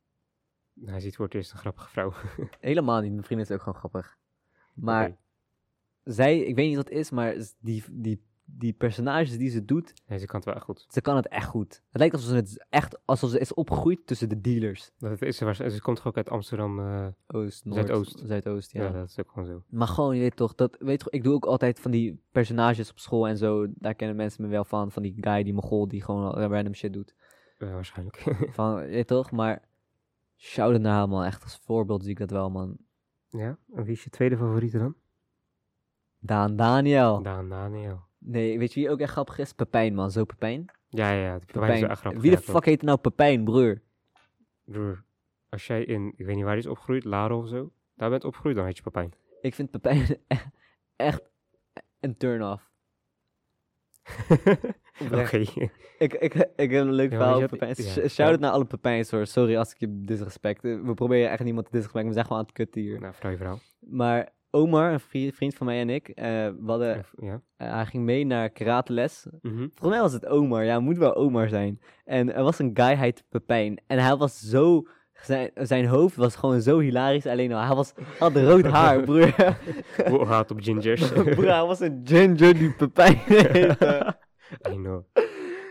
[SPEAKER 2] Hij ziet voor het eerst een grappige vrouw.
[SPEAKER 1] Helemaal niet. Mijn vriend is ook gewoon grappig. Maar
[SPEAKER 2] Oké.
[SPEAKER 1] zij, ik weet niet wat het is, maar z- die, die, die personages die ze doet,
[SPEAKER 2] Nee, ze kan het wel echt goed.
[SPEAKER 1] ze kan het echt goed. Het lijkt alsof ze, het echt, alsof ze is opgegroeid tussen de dealers.
[SPEAKER 2] Dat is, ze, waarsch- ze komt toch ook uit Amsterdam. eh,
[SPEAKER 1] Oost, Noord,
[SPEAKER 2] Zuidoost.
[SPEAKER 1] Zuidoost,
[SPEAKER 2] ja.
[SPEAKER 1] ja.
[SPEAKER 2] dat is ook gewoon zo.
[SPEAKER 1] Maar gewoon, je weet toch, dat, weet toch, ik doe ook altijd van die personages op school en zo. Daar kennen mensen me wel van. Van die guy, die mogol, die gewoon eh, random shit doet.
[SPEAKER 2] Eh, waarschijnlijk.
[SPEAKER 1] Van, je weet toch, maar shout-out naar haar, man. Echt als voorbeeld zie ik dat wel, man.
[SPEAKER 2] ja, en wie is je tweede favoriete dan?
[SPEAKER 1] Daan Daniel.
[SPEAKER 2] Daan Daniel.
[SPEAKER 1] Nee, weet je wie ook echt grappig is? Pepijn, man. Zo Pepijn.
[SPEAKER 2] Ja, ja, ja. Pepijn, is wel echt grappig.
[SPEAKER 1] Wie de
[SPEAKER 2] ja,
[SPEAKER 1] fuck heet nou Pepijn, broer?
[SPEAKER 2] Broer, als jij in, ik weet niet waar hij is opgegroeid, Laren of zo, daar bent opgegroeid, dan heet je Pepijn.
[SPEAKER 1] Ik vind Pepijn e- echt een turn-off.
[SPEAKER 2] Oké.
[SPEAKER 1] Oprecht. Ik, ik, ik heb een leuk
[SPEAKER 2] Ja,
[SPEAKER 1] verhaal
[SPEAKER 2] maar je
[SPEAKER 1] over
[SPEAKER 2] had-
[SPEAKER 1] Pepijn.
[SPEAKER 2] ja,
[SPEAKER 1] Sh- Shout
[SPEAKER 2] vertel.
[SPEAKER 1] out naar alle Pepijns hoor. Sorry als ik je disrespect. Eh, We proberen echt niemand te disrespecten. We zijn gewoon aan het kutten hier.
[SPEAKER 2] Nou, vertel je verhaal.
[SPEAKER 1] Maar Omar, een vri- vriend van mij en ik, eh, we hadden,
[SPEAKER 2] Ja.
[SPEAKER 1] eh, hij ging mee naar karateles.
[SPEAKER 2] Mhm.
[SPEAKER 1] Volgens mij was het Omar. Ja, het moet wel Omar zijn. En er was een guy, hij heette Pepijn. En hij was zo... Zijn, zijn hoofd was gewoon zo hilarisch. Alleen al, hij was, hij had rood haar, broer.
[SPEAKER 2] Wow, haat op gingers.
[SPEAKER 1] broer, hij was een ginger die Pepijn heette.
[SPEAKER 2] I know.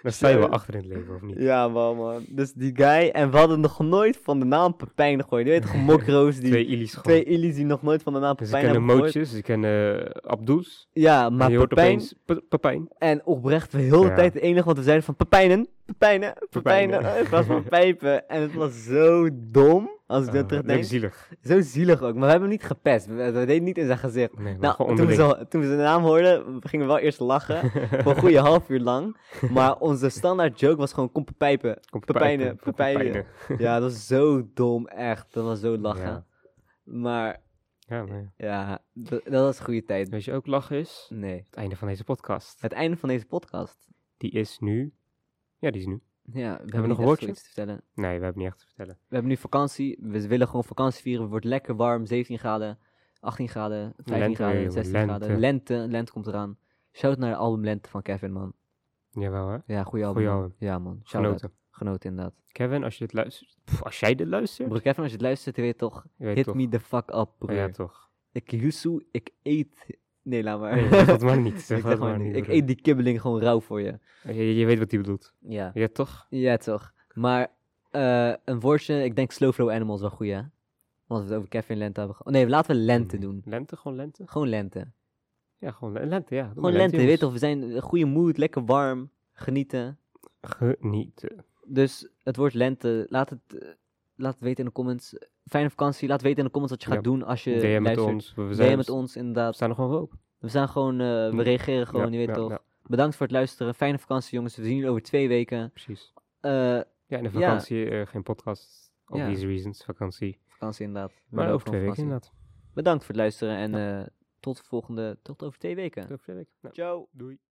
[SPEAKER 2] Dan sta je wel
[SPEAKER 1] Zo.
[SPEAKER 2] achter in het leven, of niet?
[SPEAKER 1] Ja, man, man. Dus die guy... En we hadden nog nooit van de naam Pepijn gegooid. Je weet toch, mokro's die...
[SPEAKER 2] Twee Ili's gewoon.
[SPEAKER 1] Twee illies die nog nooit van de naam
[SPEAKER 2] Dus
[SPEAKER 1] Pepijn
[SPEAKER 2] ze kennen
[SPEAKER 1] hebben gehoord.
[SPEAKER 2] Mootjes, ze kennen eh, Abdoels.
[SPEAKER 1] Ja,
[SPEAKER 2] Maar
[SPEAKER 1] maar
[SPEAKER 2] je hoort
[SPEAKER 1] Pepijn...
[SPEAKER 2] opeens Pe- Pepijn.
[SPEAKER 1] En oprecht, we heel de
[SPEAKER 2] Ja.
[SPEAKER 1] tijd het enige wat we zeiden van Pepijnen, Pepijnen, Pepijnen.
[SPEAKER 2] Pepijnen.
[SPEAKER 1] In plaats van pijpen. En het was zo dom, als ik
[SPEAKER 2] Ah,
[SPEAKER 1] dat terugdenk.
[SPEAKER 2] leuk zielig.
[SPEAKER 1] Zo zielig ook. Maar we hebben hem niet gepest. We, we deden niet in zijn gezicht.
[SPEAKER 2] Nee, maar
[SPEAKER 1] Nou,
[SPEAKER 2] gewoon
[SPEAKER 1] toen we,
[SPEAKER 2] onderling.
[SPEAKER 1] zo- toen we zijn naam hoorden, gingen we wel eerst lachen. voor een goede half uur lang. Maar onze standaard joke was gewoon, kom pijpen.
[SPEAKER 2] Kom,
[SPEAKER 1] Pepijnen,
[SPEAKER 2] kom,
[SPEAKER 1] Pepijnen. Ja, dat was zo dom, echt. Dat was zo lachen.
[SPEAKER 2] Ja.
[SPEAKER 1] Maar
[SPEAKER 2] Ja, maar ja.
[SPEAKER 1] ja, d- dat was een goede tijd.
[SPEAKER 2] Weet je ook lachen is?
[SPEAKER 1] Nee.
[SPEAKER 2] Het einde van deze podcast.
[SPEAKER 1] Het einde van deze podcast.
[SPEAKER 2] Die is nu... Ja, die is nu.
[SPEAKER 1] Ja, we hebben,
[SPEAKER 2] nog
[SPEAKER 1] nog
[SPEAKER 2] een
[SPEAKER 1] echt
[SPEAKER 2] woordje?
[SPEAKER 1] zoiets te vertellen.
[SPEAKER 2] Nee, we hebben niet echt te vertellen.
[SPEAKER 1] We hebben nu vakantie. We willen gewoon vakantie vieren. Het wordt lekker warm. 17 graden, 18 graden, 15
[SPEAKER 2] Lente weer,
[SPEAKER 1] graden,
[SPEAKER 2] jongen,
[SPEAKER 1] 16 graden.
[SPEAKER 2] lente.
[SPEAKER 1] Lente, lente komt eraan. Shout naar de album Lente van Kevin, man.
[SPEAKER 2] Jawel, hè?
[SPEAKER 1] Ja, goede album.
[SPEAKER 2] Goeie
[SPEAKER 1] man.
[SPEAKER 2] album.
[SPEAKER 1] Ja, man. Shout
[SPEAKER 2] Genoten.
[SPEAKER 1] Genoten, inderdaad.
[SPEAKER 2] Kevin, als je dit luistert... Pff, als jij dit luistert...
[SPEAKER 1] Broer Kevin, als je het luistert, je weet toch,
[SPEAKER 2] je weet
[SPEAKER 1] hit
[SPEAKER 2] toch. Oh,
[SPEAKER 1] me the fuck up, broer.
[SPEAKER 2] Ja, toch.
[SPEAKER 1] Ik yuzu, ik eet... Nee, laat maar.
[SPEAKER 2] Nee, zeg dat maar niet.
[SPEAKER 1] Ik
[SPEAKER 2] Zeg
[SPEAKER 1] zeg
[SPEAKER 2] dat
[SPEAKER 1] maar
[SPEAKER 2] maar
[SPEAKER 1] niet.
[SPEAKER 2] niet.
[SPEAKER 1] Ik
[SPEAKER 2] broer.
[SPEAKER 1] eet die kibbeling gewoon rauw voor je.
[SPEAKER 2] Je, je weet wat hij bedoelt.
[SPEAKER 1] Ja.
[SPEAKER 2] Ja, toch?
[SPEAKER 1] Ja, toch. Maar eh, een woordje, ik denk Slow Flow Animals wel goed, hè? Want we het over Kevin Lente hebben gehad. Nee, laten we Lente
[SPEAKER 2] Nee.
[SPEAKER 1] doen.
[SPEAKER 2] Lente, gewoon lente?
[SPEAKER 1] Gewoon Lente.
[SPEAKER 2] Ja, gewoon le- lente, ja. Doe maar
[SPEAKER 1] gewoon Lente, je weet
[SPEAKER 2] jongens.
[SPEAKER 1] toch, we zijn een goede mood, lekker warm, genieten.
[SPEAKER 2] Genieten.
[SPEAKER 1] Dus het woord Lente, laat het, eh, laat het weten in de comments. Fijne vakantie, laat weten in de comments wat je
[SPEAKER 2] Ja.
[SPEAKER 1] gaat doen als je
[SPEAKER 2] DM met
[SPEAKER 1] luistert.
[SPEAKER 2] ons. We, we
[SPEAKER 1] DM
[SPEAKER 2] zijn, dus-
[SPEAKER 1] met ons,
[SPEAKER 2] we
[SPEAKER 1] inderdaad.
[SPEAKER 2] staan nog wel open.
[SPEAKER 1] We zijn gewoon, eh, we
[SPEAKER 2] Ja,
[SPEAKER 1] reageren gewoon,
[SPEAKER 2] Ja,
[SPEAKER 1] je weet
[SPEAKER 2] ja,
[SPEAKER 1] toch.
[SPEAKER 2] ja,
[SPEAKER 1] Bedankt voor het luisteren, fijne vakantie jongens, we zien jullie over twee weken.
[SPEAKER 2] precies.
[SPEAKER 1] Eh,
[SPEAKER 2] Ja, in de
[SPEAKER 1] Ja.
[SPEAKER 2] vakantie eh, geen podcast.
[SPEAKER 1] Ja.
[SPEAKER 2] Obvious reasons, vakantie.
[SPEAKER 1] vakantie inderdaad. We
[SPEAKER 2] Maar
[SPEAKER 1] lopen
[SPEAKER 2] over
[SPEAKER 1] van
[SPEAKER 2] twee weken
[SPEAKER 1] vakantie.
[SPEAKER 2] inderdaad.
[SPEAKER 1] Bedankt voor het luisteren en eh, tot de volgende, tot over twee weken.
[SPEAKER 2] Over twee weken. Nou,
[SPEAKER 1] Ciao.
[SPEAKER 2] doei.